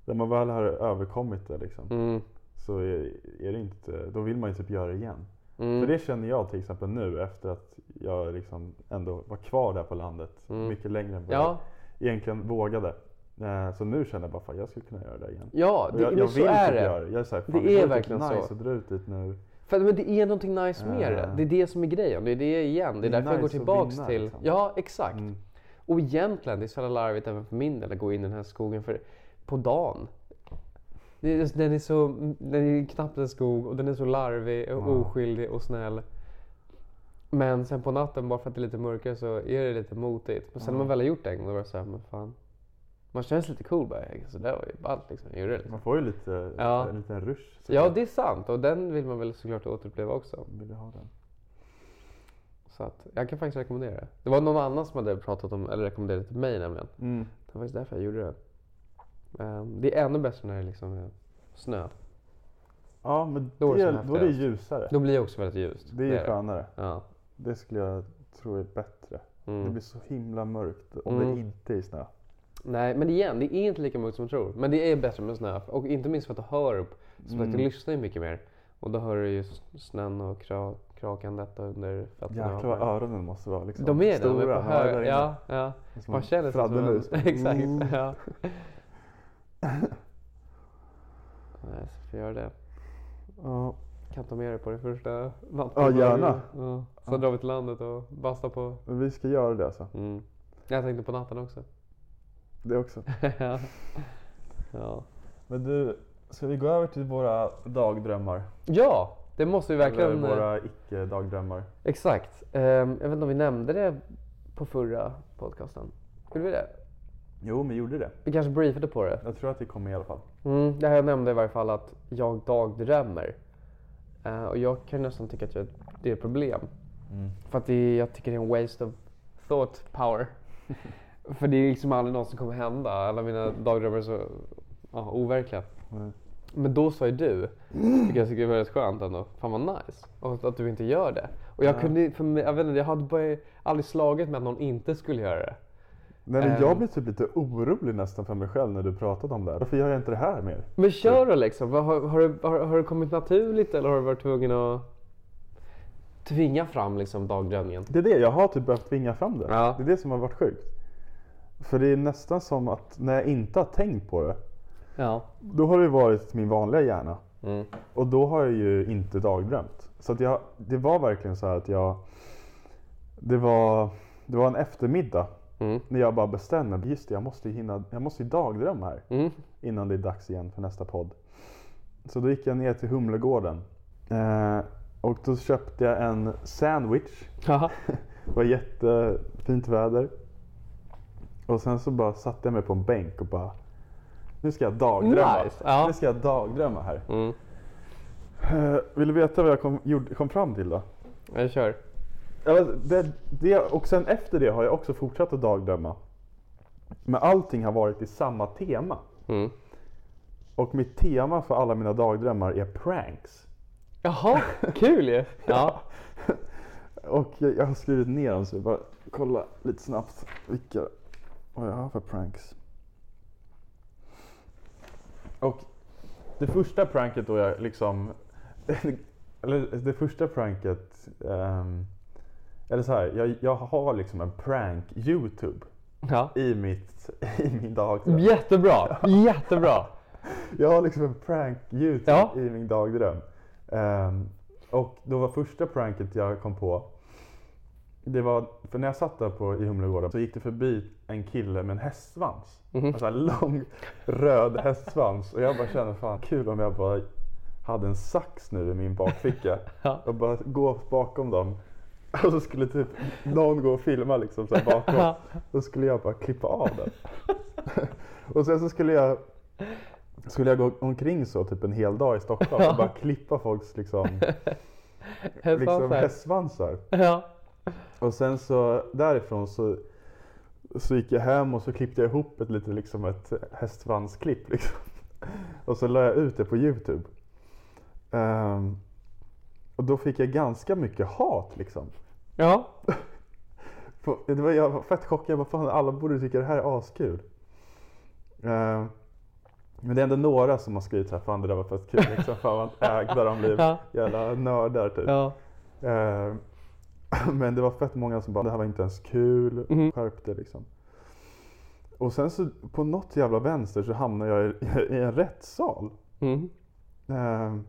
när man väl har överkommit det liksom mm, så är, är det inte, då vill man ju typ göra det igen. mm, För det känner jag till exempel nu efter att jag liksom ändå var kvar där på landet Mm. mycket längre än vad ja, jag egentligen vågade. Eh, Så nu känner jag bara fan jag skulle kunna göra det igen. ja Och det, jag, men jag så är typ det. göra det. Jag är så här, fan, Det det, är vore typ verkligen så. nice att dra ut dit nu. För att, men det är någonting nice med det. Äh. Det är det som är grejen. Det är det igen. Det är Det är därför jag går nice att tillbaks vinna, till... liksom. Ja, exakt. Mm. Och egentligen, det är så jävla larvigt även för min del att gå in i den här skogen för, på dagen. Det är- Den är, så, den är knappt en skog och den är så larvig och Ja. oskyldig och snäll. Men sen på natten, bara för att det är lite mörkare, så är det lite motigt. Men sen Ah. när man väl har gjort det en gång, då var det så här, men fan. Man känns lite cool bara. Så där var ju ballt liksom. Jag gjorde det liksom. Man får ju lite, Ja. en liten rush. Så Ja, det är sant. Och den vill man väl såklart återuppleva också. Vill du ha den? Så att jag kan faktiskt rekommendera det. Det var någon annan som hade pratat om, eller rekommenderat det till mig nämligen. Mm. Det var faktiskt därför jag gjorde det. Ehm, det är ännu bättre när det liksom är snö. Ja men Då är det det, som då är det häftigast. ljusare. Då blir det också väldigt ljust. Det är ju skönare. Ja. Det skulle jag tro är bättre. Det Mm. blir så himla mörkt om Mm. det inte är snö. Nej, men igen, det är inte lika mörkt som man tror. Men det är bättre med snö. Och inte minst för att du hör upp. Så att du Mm. lyssnar ju mycket mer. Och då hör du ju s- snön och kra- krakandet under fötterna. Jäklar vad öronen måste vara liksom. De är det, de är stora. Ja, på där hög. inne. Ja, ja. Det är som Man en känner sig som en... fladdermus. Mm. Exakt. Ja. Nej, så får jag göra det. Ja. Kan ta med dig på det första natten. Ja, gärna. Ja. Sen drar vi till landet och bastar på. Men vi ska göra det alltså. Mm. Jag tänkte på natten också. Det också. ja. ja. Men du, ska vi gå över till våra dagdrömmar? Ja, det måste vi verkligen. eh, Eller våra icke-dagdrömmar. Exakt. Ehm, jag vet inte om vi nämnde det på förra podcasten. Gjorde vi det? Jo, men gjorde det. Vi kanske briefade på det. Jag tror att det kommer i alla fall. Mm, det här jag nämnde i varje fall att jag dagdrömmer. Eh, och jag kan nästan tycka att jag, det är ett problem. För att det, är- jag tycker det är en waste of thought power. För det är liksom aldrig något som kommer hända. Alla mina dagdrömmar är så ja, overkliga. Mm. Men då sa ju du, vilket jag tycker är väldigt skönt ändå, fan vad nice. Och att, att du inte gör det. Och jag kunde, för mig, jag vet inte, jag hade bara aldrig slagit med att någon inte skulle göra det. Nej, Ehm. men jag blir typ lite orolig nästan för mig själv när du pratade om det här. Varför gör jag inte det här mer? Men kör då liksom. Vad Har, har, det- har, har det kommit naturligt eller har du varit tvungen att tvinga fram liksom dagdrömningen? Det är det, jag har typ behövt tvinga fram det. Ja. Det är det som har varit sjukt. För det är nästan som att när jag inte har tänkt på det, Ja. då har det varit min vanliga hjärna. Mm. Och då har jag ju inte dagdrömt. Så att jag, det var verkligen så här att jag... Det var, det var en eftermiddag Mm. när jag bara bestämde mig. Just det, jag måste, ju hinna, jag måste ju dagdrömma här Mm. innan det är dags igen för nästa podd. Så då gick jag ner till Humlegården. Eh, och då köpte jag en sandwich Haha. det var jättefint väder. Och sen så bara satte jag mig på en bänk och bara nu ska jag dagdrömma. Nice, ja. Nu ska jag dagdrömma här. Mm. Eh, Vill du veta vad jag kom, gjorde, kom fram till då? Jag kör. Ja, Det, det, och sen efter det har jag också fortsatt att dagdrömma. Men allting har varit i samma tema. Mm. Och mitt tema för alla mina dagdrömmar är pranks. Jaha, kul ju! Ja. Och jag, jag har skrivit ner dem så jag bara kolla lite snabbt vilka vad jag har för pranks. Och det första pranket då jag liksom, eller det första pranket, ehm, eller så här, jag, jag har liksom en prank YouTube ja. i mitt, i min dagdröm. Jättebra, jättebra! Jag har liksom en prank YouTube Ja. i min dagdröm. Ehm, och då var första pranket jag kom på Det var, för när jag satt där på, i Humlegården så gick det förbi en kille med en hästsvans. En sån här lång röd hästsvans. Och jag bara kände fan kul om jag bara hade en sax nu i min bakficka. Ja. Och bara gå bakom dem. Och så skulle typ någon gå och filma liksom så här bakom. Då skulle jag bara klippa av den. och sen så skulle jag skulle jag gå omkring så typ en hel dag i Stockholm och bara klippa folks liksom, liksom Hästsvansar. hästsvansar. Ja. Och sen så därifrån så, så gick jag hem och så klippte jag ihop ett lite liksom ett hästsvansklipp. Liksom. Och så la jag ut det på Youtube. Ehm, och då fick jag ganska mycket hat liksom. Ja. På- Det var, jag var fett chockad. Jag bara, fan alla borde tycka det här är askul. Ehm, men det är ändå några som har skrivit så här, fan det där var fett kul. Liksom, fan vad ägda de blev. Ja. Jävla nördar typ. Ja. Eh, Men det var fett många som bara, det här var inte ens kul, skärp dig liksom. Och sen så på något jävla vänster så hamnar jag i, i en rättssal. Mm. Eh,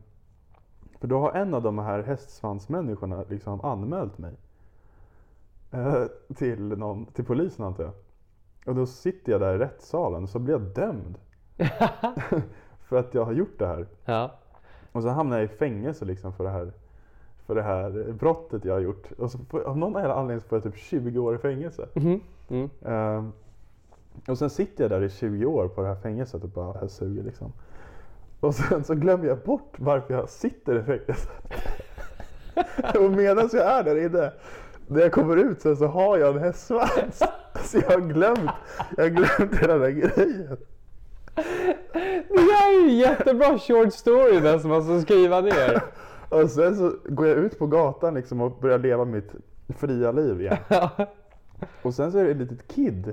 För då har en av de här hästsvansmänniskorna liksom anmält mig. Eh, Till, någon, till polisen antar jag. Och då sitter jag där i rättssalen och så blir jag dömd. för att jag har gjort det här. Ja. Och så hamnade jag i fängelse liksom för det här, för det här brottet jag har gjort. Och så får- av någon jävla anledning så får jag typ 20 år i fängelse. Mm. Ehm, och sen sitter jag där i 20 år på det här fängelset och bara, det här suger liksom. Och sen så glömmer jag bort varför jag sitter i fängelset. och medan jag är där inne, när jag kommer ut sen så har jag en hästsvans. Så jag har glömt, jag har glömt hela den här grejen. Det här är ju en jättebra short story den som man ska skriva ner. Och sen så går jag ut på gatan liksom och börjar leva mitt fria liv igen. Och sen så är det ett litet kid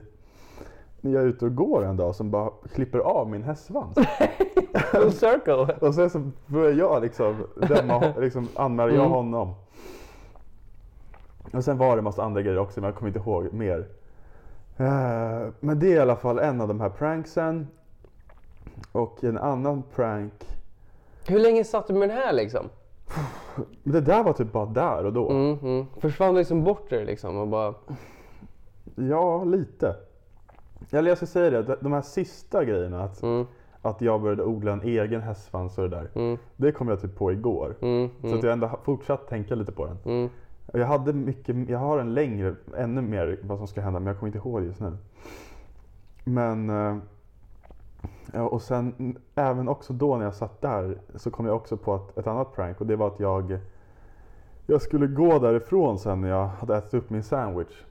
när jag är ute och går en dag som bara klipper av min hästsvans. Full circle. Och sen så börjar jag liksom, döma, liksom anmäla jag honom. Och sen var det en massa andra grejer också men jag kommer inte ihåg mer. Eh, Men det är i alla fall en av de här pranksen. Och en annan prank. Hur länge satt du med den här liksom? Det där var typ bara där och då. Mm, mm. Försvann liksom bort det liksom och bara... Ja, lite. Eller jag ska säga det, de- de här sista grejerna. Att, att jag började odla en egen hästsvans och det där. Det kom jag typ på igår. mm, Så att jag ändå har fortsatt tänka lite på den. Och Jag, hade mycket, jag har en längre, ännu mer vad som ska hända men jag kommer inte ihåg just nu. Men eh, ja, och sen mm, även också då när jag satt där så kom jag också på att, ett annat prank och det var att jag jag skulle gå därifrån sen när jag hade ätit upp min sandwich.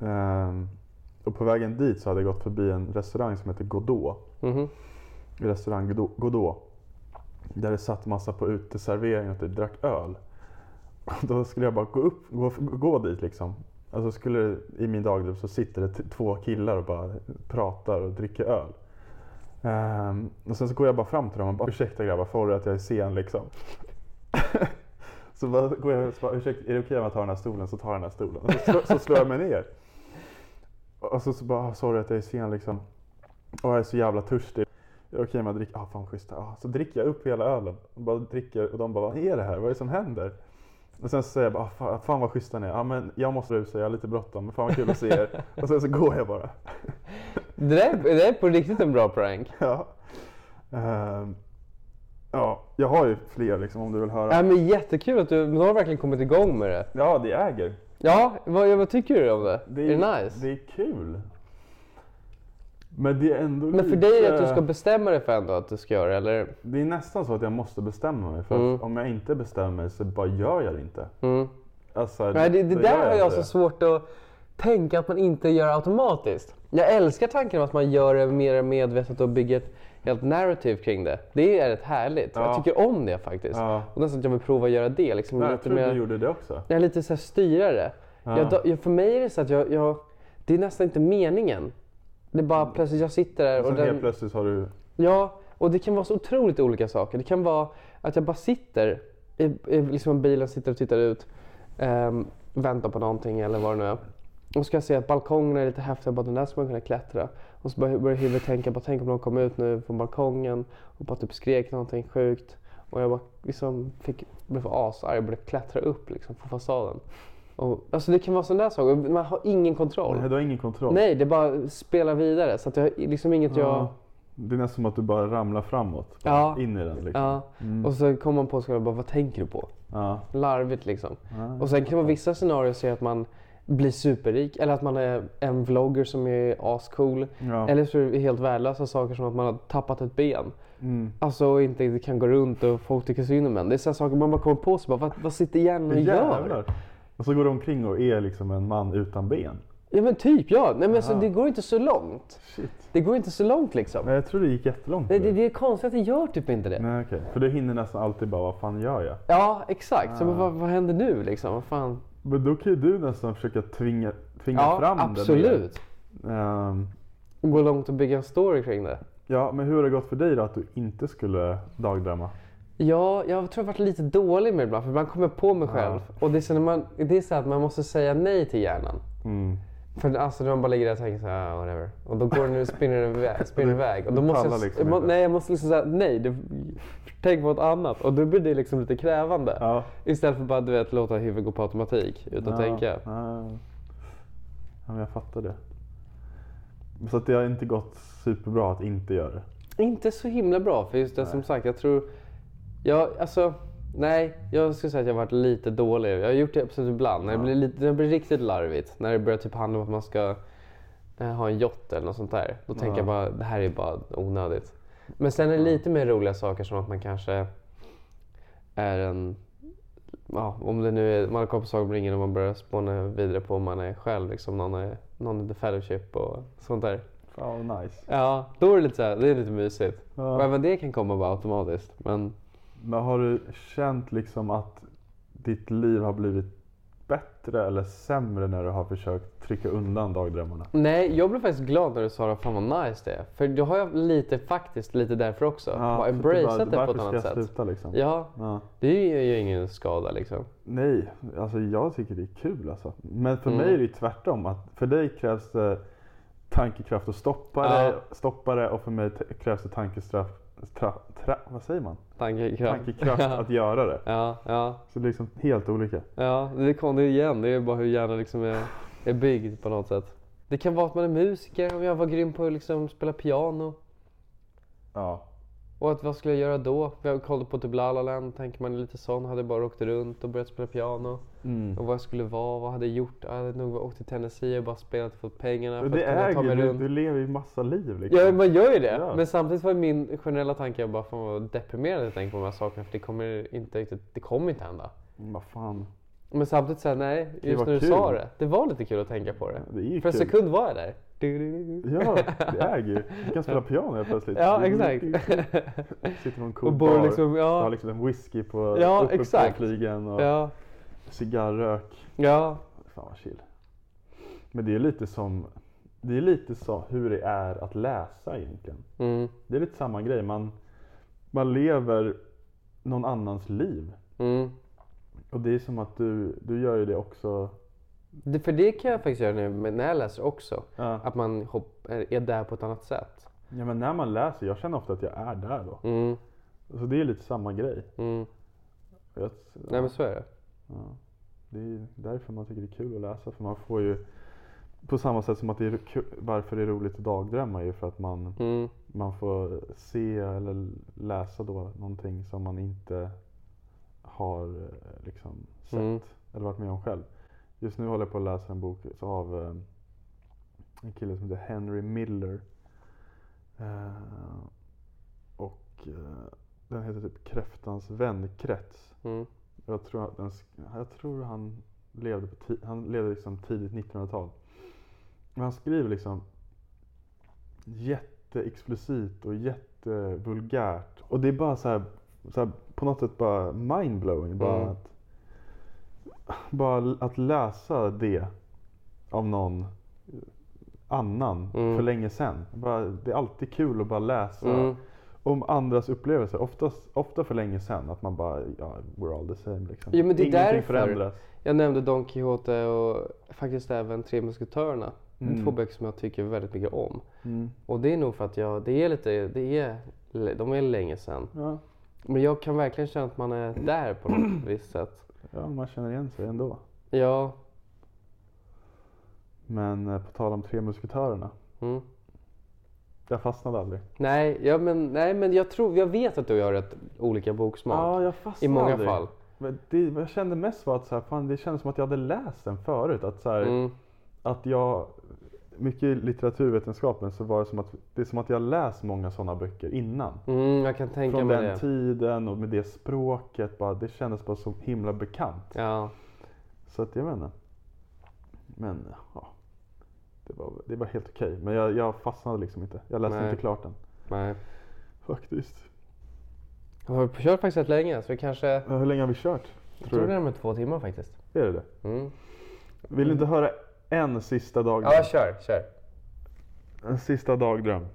Ehm, och på vägen dit så hade jag gått förbi en restaurang som heter Godot. Restaurang Godot- Godot. Där det satt massa på uteservering och typ drack öl. Och då skulle jag bara gå upp, gå, gå dit liksom. Alltså skulle, I min dagliv så sitter det t- två killar och bara pratar och dricker öl. Ehm, och sen så går jag bara fram till dem och bara ursäkta grabbar, förlåt att jag är sen liksom. Så bara, går jag och så bara, ursäkta, är det okej om jag tar den här stolen? Så tar jag den här stolen. Och så, slår, så slår jag mig ner. Och så, så bara, "Ah, sorry att jag är sen liksom. Och jag är så jävla törstig. Är det okej om jag dricker? Ja, ah, fan schysst. Ah. Så dricker jag upp hela ölen. Och bara dricker och de bara, vad är det här? Vad är det som händer? Och sen så säger jag bara, ah, fan, fan vad schyssta ni är. Ja, men jag måste rusa, jag har lite bråttom. Men fan vad kul att se er. Och sen så går jag bara. Det där, det där är på riktigt en bra prank. Ja. Ehm, ja, jag har ju fler liksom om du vill höra. Ja, men jättekul att du, men du har verkligen kommit igång med det. Ja, det äger. Ja, vad, vad tycker du om det? Det är, det nice? Det är kul. Men det är ändå men för lite- dig är det att du ska bestämma dig för ändå att du ska göra det, eller? Det är nästan så att jag måste bestämma mig. För att Mm. om jag inte bestämmer mig så bara gör jag det inte. Alltså, Nej, det, då det gör där har jag inte så det. svårt att tänka att man inte gör automatiskt. Jag älskar tanken om att man gör det mer medvetet och bygger ett helt narrative kring det. Det är rätt härligt. Jag tycker om det faktiskt. Ja. Och nästan att jag vill prova att göra det. Liksom, Nej, jag lite trodde mer- du gjorde det också. Jag är lite så här styrare. Jag, då- jag, för mig är det så att jag, jag, det är nästan inte meningen. Det är bara plötsligt jag sitter där Mm. och, Sen Alltså, helt den, plötsligt har du... Ja, och det kan vara så otroligt olika saker. Det kan vara att jag bara sitter i, i liksom bilen, sitter och tittar ut, ehm, väntar på någonting eller vad det nu är. Och ska jag se att balkongen är lite häftig, jag bara den där ska man kunna klättra. Och så börjar börjar huvudet tänka, bara tänk om någon kom ut nu från balkongen och bara typ skrek någonting sjukt. Och jag bara liksom fick, blev asarg och började klättra upp liksom på fasaden. Och, alltså det kan vara sådana där saker. Man har ingen kontroll. Nej, Du har ingen kontroll. Nej, det bara spelar vidare. Så att jag har liksom inget jag... Ja. Det är nästan som att du bara ramlar framåt. Bara Ja. In i den liksom. Ja. Och så kommer man på sig och bara, vad tänker du på? Ja. Larvigt liksom. Ja. Och sen kan man vissa scenarier se att man blir superrik eller att man är en vlogger som är ascool. Ja. Eller så är det helt värdelösa saker som att man har tappat ett ben. Mm. Alltså och inte riktigt kan gå runt och folk tycker synd om en. Det är sådana saker man bara kommer på sig. Bara, vad, vad sitter hjärnan och gör? Jävlar. Och så går du omkring och är liksom en man utan ben. Ja men typ ja. Nej, men alltså, det går inte så långt. Shit. Det går inte så långt liksom. Nej, jag tror det gick jättelångt. Det, för det, dig. det är konstigt att det gör typ inte det. Nej, okej. För du hinner nästan alltid bara, vad fan gör jag? Ja exakt. Ah. Så, vad, vad händer nu liksom? Vad fan? Men då kan ju du nästan försöka tvinga, tvinga Ja fram det. mer. absolut. Ehm, Gå långt och bygga en story kring det. ja, men hur har det gått för dig då att du inte skulle dagdrömma? Ja, jag tror jag varit lite dålig med det ibland för ibland kommer jag på mig själv. Och det är, så när man, det är så att man måste säga nej till hjärnan. Mm. För alltså när man bara ligger där och tänker så här, ah, whatever. Och då går den och spinner den iväg. Spinner Du- iväg. Och du då måste pallar jag, liksom jag må- inte. nej, jag måste liksom säga nej. Du, tänk på något annat. Och då blir det liksom lite krävande. Ja. Istället för bara du vet, låta huvudet gå på automatik utan att Ja, tänka. Ja, ja, men jag fattar det. Så att det har inte gått superbra att inte göra det. Inte så himla bra för just det som sagt. Jag tror... Jag, alltså, nej, jag skulle säga att jag har varit lite dålig. Jag har gjort det absolut ibland. När, det blir lite, när det blir riktigt larvigt. När det börjar typ handla om att man ska eh, ha en jott eller något sånt där. Då tänker jag bara, det här är bara onödigt. Men sen är det lite mer roliga saker som att man kanske är en... Ja, om det nu är, man har kompisar som ringer och man börjar spåna vidare på om man är själv. Liksom någon är, någon är the fellowship och sånt där. Fan vad nice. Ja, då är det lite, så här, det är lite mysigt. Ja. Och även det kan komma bara automatiskt. Men Men har du känt liksom att ditt liv har blivit bättre eller sämre när du har försökt trycka undan dagdrömmarna? nej, jag blev faktiskt glad när du sa det. Fan vad nice det är. För då har jag lite, faktiskt lite därför också. så bara att du bara, embraceat det på varför ett ska annat jag sätt. Sluta, liksom? Ja, Ja. det gör ju ingen skada liksom. Nej, alltså jag tycker det är kul alltså. Men för Mm. mig är det ju tvärtom. Att för dig krävs det tankekraft att stoppa, Ja. det, stoppa det och för mig t- krävs det tankestraff, tra, tra, vad säger man? Tankekraft. tankekraft ja, att göra det. ja, ja, Så det är liksom helt olika. ja, det kom det igen. Det är bara hur hjärnan liksom är, är byggd på något sätt. Det kan vara att man är musiker, om jag var grym på att liksom spela piano. Ja. Och att vad skulle jag göra då? Jag kollade på typ La La Land, tänker man är lite sån. Hade bara åkt runt och börjat spela piano. Och vad jag skulle vara, vad hade jag gjort? Jag hade nog åkt till Tennessee och bara spelat och fått pengarna för Det att kunna är ta ju, mig du, runt. du lever ju massa liv liksom. Ja, man gör ju det. Ja. Men samtidigt var min generella tanke jag bara fan vad deprimerad jag tänker på de här sakerna för det kommer inte riktigt, det kommer inte hända. Vad fan. Men samtidigt såhär, nej, just var när du kul. sa det. Det var lite kul att tänka på det. Det är ju för en kul. sekund var jag där. Ja, det är ju. Du kan spela piano helt plötsligt. Ja, exakt. Sitter på en cool Och bor bar. liksom, ja. Du har liksom en whisky på, Ja, uppe exakt. på flygeln och ja, cigarrök. ja, Fan vad chill. Men det är lite som det är lite så hur det är att läsa egentligen. mm, Det är lite samma grej. Man, man lever någon annans liv. mm. Och det är som att du, du gör ju det också. Det, för det kan jag faktiskt göra nu men när jag läser också. Ja. Att man hopp, är är där på ett annat sätt. Ja, men när man läser, jag känner ofta att jag är där då. Mm, Så det är lite samma grej. mm. Och Jag, Nej men så är det. Det är därför man tycker det är kul att läsa. För man får ju, på samma sätt som att det är ku- varför det är roligt att dagdrömma är ju för att man, Mm. man får se eller läsa då någonting som man inte har eh, liksom sett Mm. eller varit med om själv. Just nu håller jag på att läsa en bok av eh, en kille som heter Henry Miller. Eh, Och eh, den heter typ Kräftans vänkrets. Mm. Jag tror, att den, sk- jag tror han levde, på ti, han levde liksom tidigt 1900-tal. Men han skriver liksom jätteexplicit och jättevulgärt. Och det är bara så här, så här på något sätt bara mindblowing. Bara, Mm. att, bara l- att läsa det av någon annan Mm. för länge sedan. Bara, det är alltid kul att bara läsa Mm. om andras upplevelser. Oftast, ofta för länge sedan. Att man bara, ja, we're all the same. Liksom. Jo, men det är Ingenting därför. förändras. Jag nämnde Don Quijote och faktiskt även Tre musketörerna. Mm. Två böcker som jag tycker väldigt mycket om. Mm. Och det är nog för att jag, det är lite, det är, de är länge sedan. Ja, Men jag kan verkligen känna att man är där på något visst sätt. ja, man känner igen sig ändå. Ja, Men eh, på tal om Tre Musketörerna. Mm. Jag fastnade aldrig. Nej, ja, men, nej, men jag, tror, jag vet att du har rätt olika boksmak. Ja, jag fastnade I många aldrig. fall. Men det, vad jag kände mest var att så här, fan, det kändes som att jag hade läst den förut. Att, så här, Mm. att jag, mycket i litteraturvetenskapen så var det som att det är som att jag läst många sådana böcker innan. Mm, jag kan tänka Från mig den det. tiden och med det språket. Bara, det kändes bara så himla bekant. Ja. Så att jag vet inte. Men ja. Det var, det var helt okej. Men jag, jag fastnade liksom inte. Jag läste Nej. inte klart den. Nej. Faktiskt. Jag har kört faktiskt rätt länge så vi kanske... Ja, Eh, Hur länge har vi kört? Jag Tror tror det du? är med två timmar faktiskt. Är det det? Mm. Vill du inte höra en sista dagdröm? Ja, kör, kör. En sista dagdröm.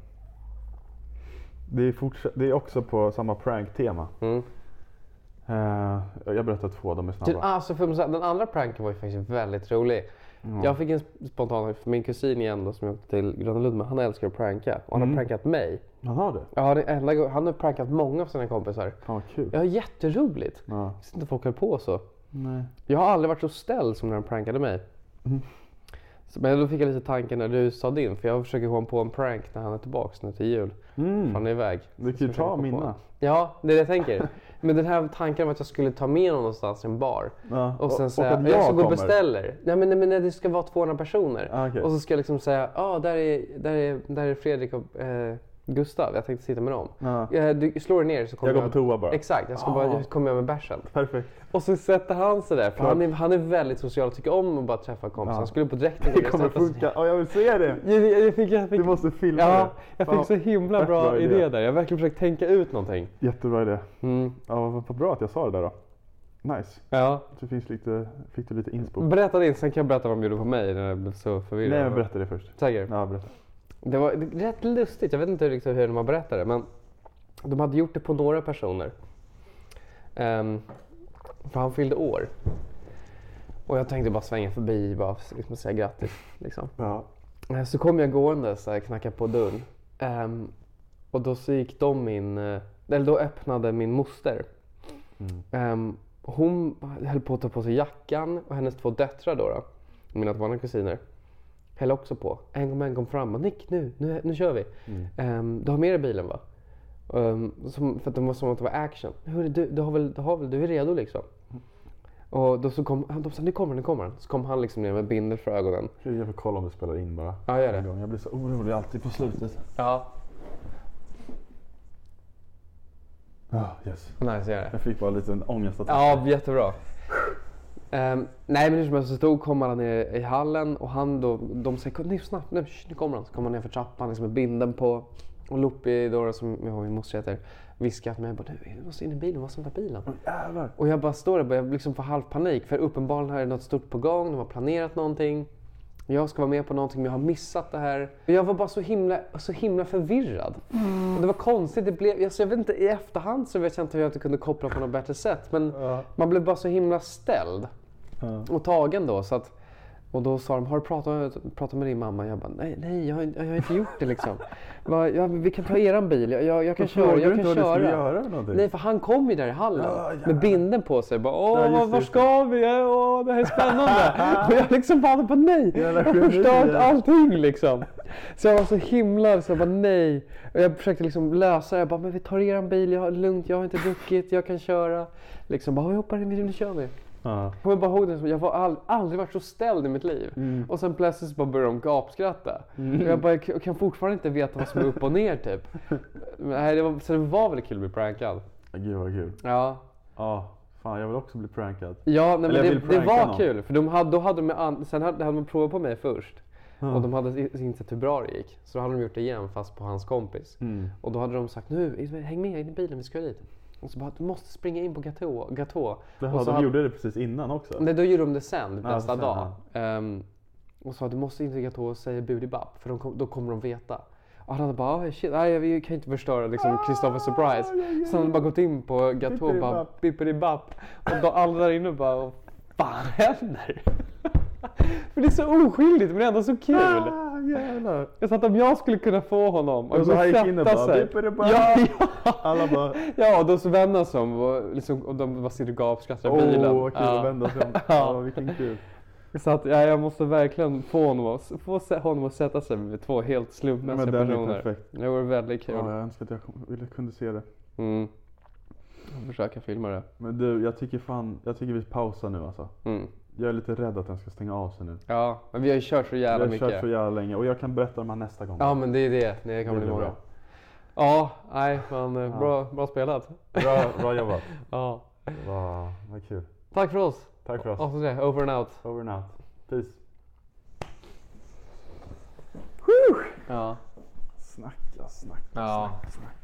Det är, fortsa- det är också på samma prank-tema. Mm. Eh, jag berättar två, de är Till, snabba. alltså, för, den andra pranken var ju faktiskt väldigt rolig. Jag fick en sp- spontan, för min kusin igen då, som jag åkte till Gröna Lund med, han älskar att pranka. Och han har prankat mig. Han har det? Ja, det är enda, gång- han har prankat många av sina kompisar. Fan vad kul. Ja, jätteroligt. Jag Ja. visste inte folk höll på så. Nej. Jag har aldrig varit så ställd som när han prankade mig. Mm. Så- Men då fick jag lite tanken när du sa din, för jag försöker komma på en prank när han är tillbaka nu till jul. För Han är iväg. Mm. Du kan ju Så jag ta försöker komma på mina. en. Ja, det är det jag tänker. Men den här tanken om att jag skulle ta med honom någonstans i en bar. Ja, Och och- sen och säga, att jag, jag ska gå och kommer." beställer. Nej men, nej, men nej, det ska vara 200 personer. Ah, okej. Och så ska jag liksom säga, ja där, är, där, är, där är Fredrik och eh, Gustav, jag tänkte sitta med dem. Ja. Eh, du slår dig ner så kommer Jag går på toa bara. Ah. Exakt, jag ska bara, jag kommer jag med bärsen. Perfekt. Och så sätter han sig där, för han är, han är väldigt social och tycker om att bara träffa kompisar. Ja. Han skulle på direkten Det och kommer sätta sig- funka. Ja, jag vill se det. Jag, jag, jag fick, jag fick, Du måste filma ja, det. jag fick Fan, så himla fett bra, bra idé idé. där. Jag har verkligen försökt tänka ut någonting. Jättebra idé. Mm. Ja, vad, vad bra att jag sa det där då. Nice. Ja. Så finns lite, fick du lite inspo. Berätta din, sen kan jag berätta vad de gjorde på mig när jag blev så förvirrad. Nej, men berätta det först. Säkert. Ja, berätta. Det var rätt lustigt. Jag vet inte riktigt hur de berättade det, men de hade gjort det på några personer. Ehm, för han fyllde år. Och jag tänkte bara svänga förbi bara liksom säga grattis. Liksom. Ja. Eh, Så kom jag gående så här, knackade på dörren. Ehm, och då så gick de in, eh, eller då öppnade min moster. Ehm, hon höll på att ta på sig jackan och hennes två döttrar då, då mina två andra kusiner, höll också på. En kom, en kom fram och Nick nu, nu, nu kör vi. Ehm, du har med dig bilen va? Ehm, som, för att de var som att det var action. Hörru, du, du, har väl, du, har väl, du är redo liksom? Och då så kom, de sa nu kommer den, nu kommer den. Så kom han liksom ner med bindel för ögonen. Jag får kolla om du spelar in bara. Ja, gör det. En gång. Jag blir så orolig alltid på slutet. Ja. Ja, yes. Nice, gör det. Jag fick bara en liten ångestattack. Ja, jättebra. Ehm, nej men hur som helst så stod, kom alla ner i hallen och han då, de säger "Kom, nu snabbt, nu, sh, nu kommer han. Så kommer han ner för trappan liksom med binden på. Och Loppi då som jag och min moster heter viskar till mig bara du vi måste in i bilen, vad som där bilen? Jävlar. Och jag bara står där och börjar liksom få halvpanik för uppenbarligen här är något stort på gång, de har planerat någonting. Jag ska vara med på någonting men jag har missat det här. Jag var bara så himla, så himla förvirrad. Och det var konstigt, det blev, alltså jag vet inte, i efterhand så vet jag inte hur jag inte kunde koppla på något bättre sätt. Men man blev bara så himla ställd och tagen då. Så att, och då sa de, har du pratat, pratat med din mamma? Jag bara, nej, nej jag, har, inte- jag har inte gjort det liksom. Bara, ja, vi kan ta eran bil, jag, jag, jag kan köra. frågade Jag du kan inte vad du skulle köra. göra eller någonting? Nej, för han kom ju där i hallen Ja, jävlar. med binden på sig. Bara, Åh, Ja, just det, var just ska vi? Åh, det här är spännande. och jag liksom bara, bara nej. Jag Jävla har förstört genier. allting liksom. Så jag var så himla, så jag bara nej. Och jag försökte liksom lösa det. Jag bara, men vi tar er en bil, jag har lugnt, jag har inte druckit, jag kan köra. Liksom bara, vi hoppar in, nu kör vi. Ja. Jag kommer bara ihåg det som, jag har all, aldrig varit så ställd i mitt liv. Och sen plötsligt så bara började de gapskratta. Och jag, bara, jag kan- jag kan fortfarande inte veta vad som är upp och ner typ. Men, nej, det var, så det var väl kul att bli prankad. Gud vad kul. Ja, Ja, fan jag vill också bli prankad. ja nej, men Eller jag det, vill det pranka var någon. kul. För de hade, då hade de, an- sen hade, hade de provat på mig först. Och de hade i- insett hur bra det gick. Så då hade de gjort det igen fast på hans kompis. Mm. Och då hade de sagt nu, häng med in i bilen, vi ska dit. Och så bara, du måste springa in på Gatå. Gatå. Jaha, Och så de hade- gjorde det precis innan också. Nej, då gjorde de det sen, nästa sen, dag. Ehm, och sa att du måste inte gatå och säga budibab, för de kom, då kommer de veta. Och han hade bara, "Ah, shit, nej, vi kan inte förstöra liksom Ah, Christopher surprise. Så han hade bara gått in på gatå och bara, Bippelibapp. bippelibapp. Och då alla där inne bara, vad fan händer? för det är så oskyldigt men ändå så kul. Ah, jävlar. Jag sa att om jag skulle kunna få honom att Och så gå och han gick in och sätta bara, sig. bippelibapp. Ja, ja. Alla bara, Ja, och då så vände han sig om och, liksom, och de bara sitter och gapskrattar i åh bilen. vad kul Ja. att vända sig om. Ja. Ja, vilken kul. Så att ja, jag måste verkligen få honom, att- få se- honom att sätta sig med två helt Men slumpmässiga den är personer. perfekt. Det vore väldigt Ja, kul. jag önskar att jag kom- ville, kunde se det. Mm. Jag försöker filma det. Men du, jag tycker fan, jag tycker vi pausar nu alltså. Mm. Jag är lite rädd att den ska stänga av sig nu. Ja, men vi har ju kört så Jag jävla har mycket. kört så jävla länge och jag kan berätta om han nästa gång. Ja, men det är det. Det kan Det bli blir många. bra. Ja, nej, men eh, bra, bra spelat. Bra, bra jobbat. Ja. Vad vad kul. Tack för oss. Tack för oss. Avsnitt tre, over and out. Over and out. Peace. Ja. Snacka, snacka, Ja. snacka, snacka.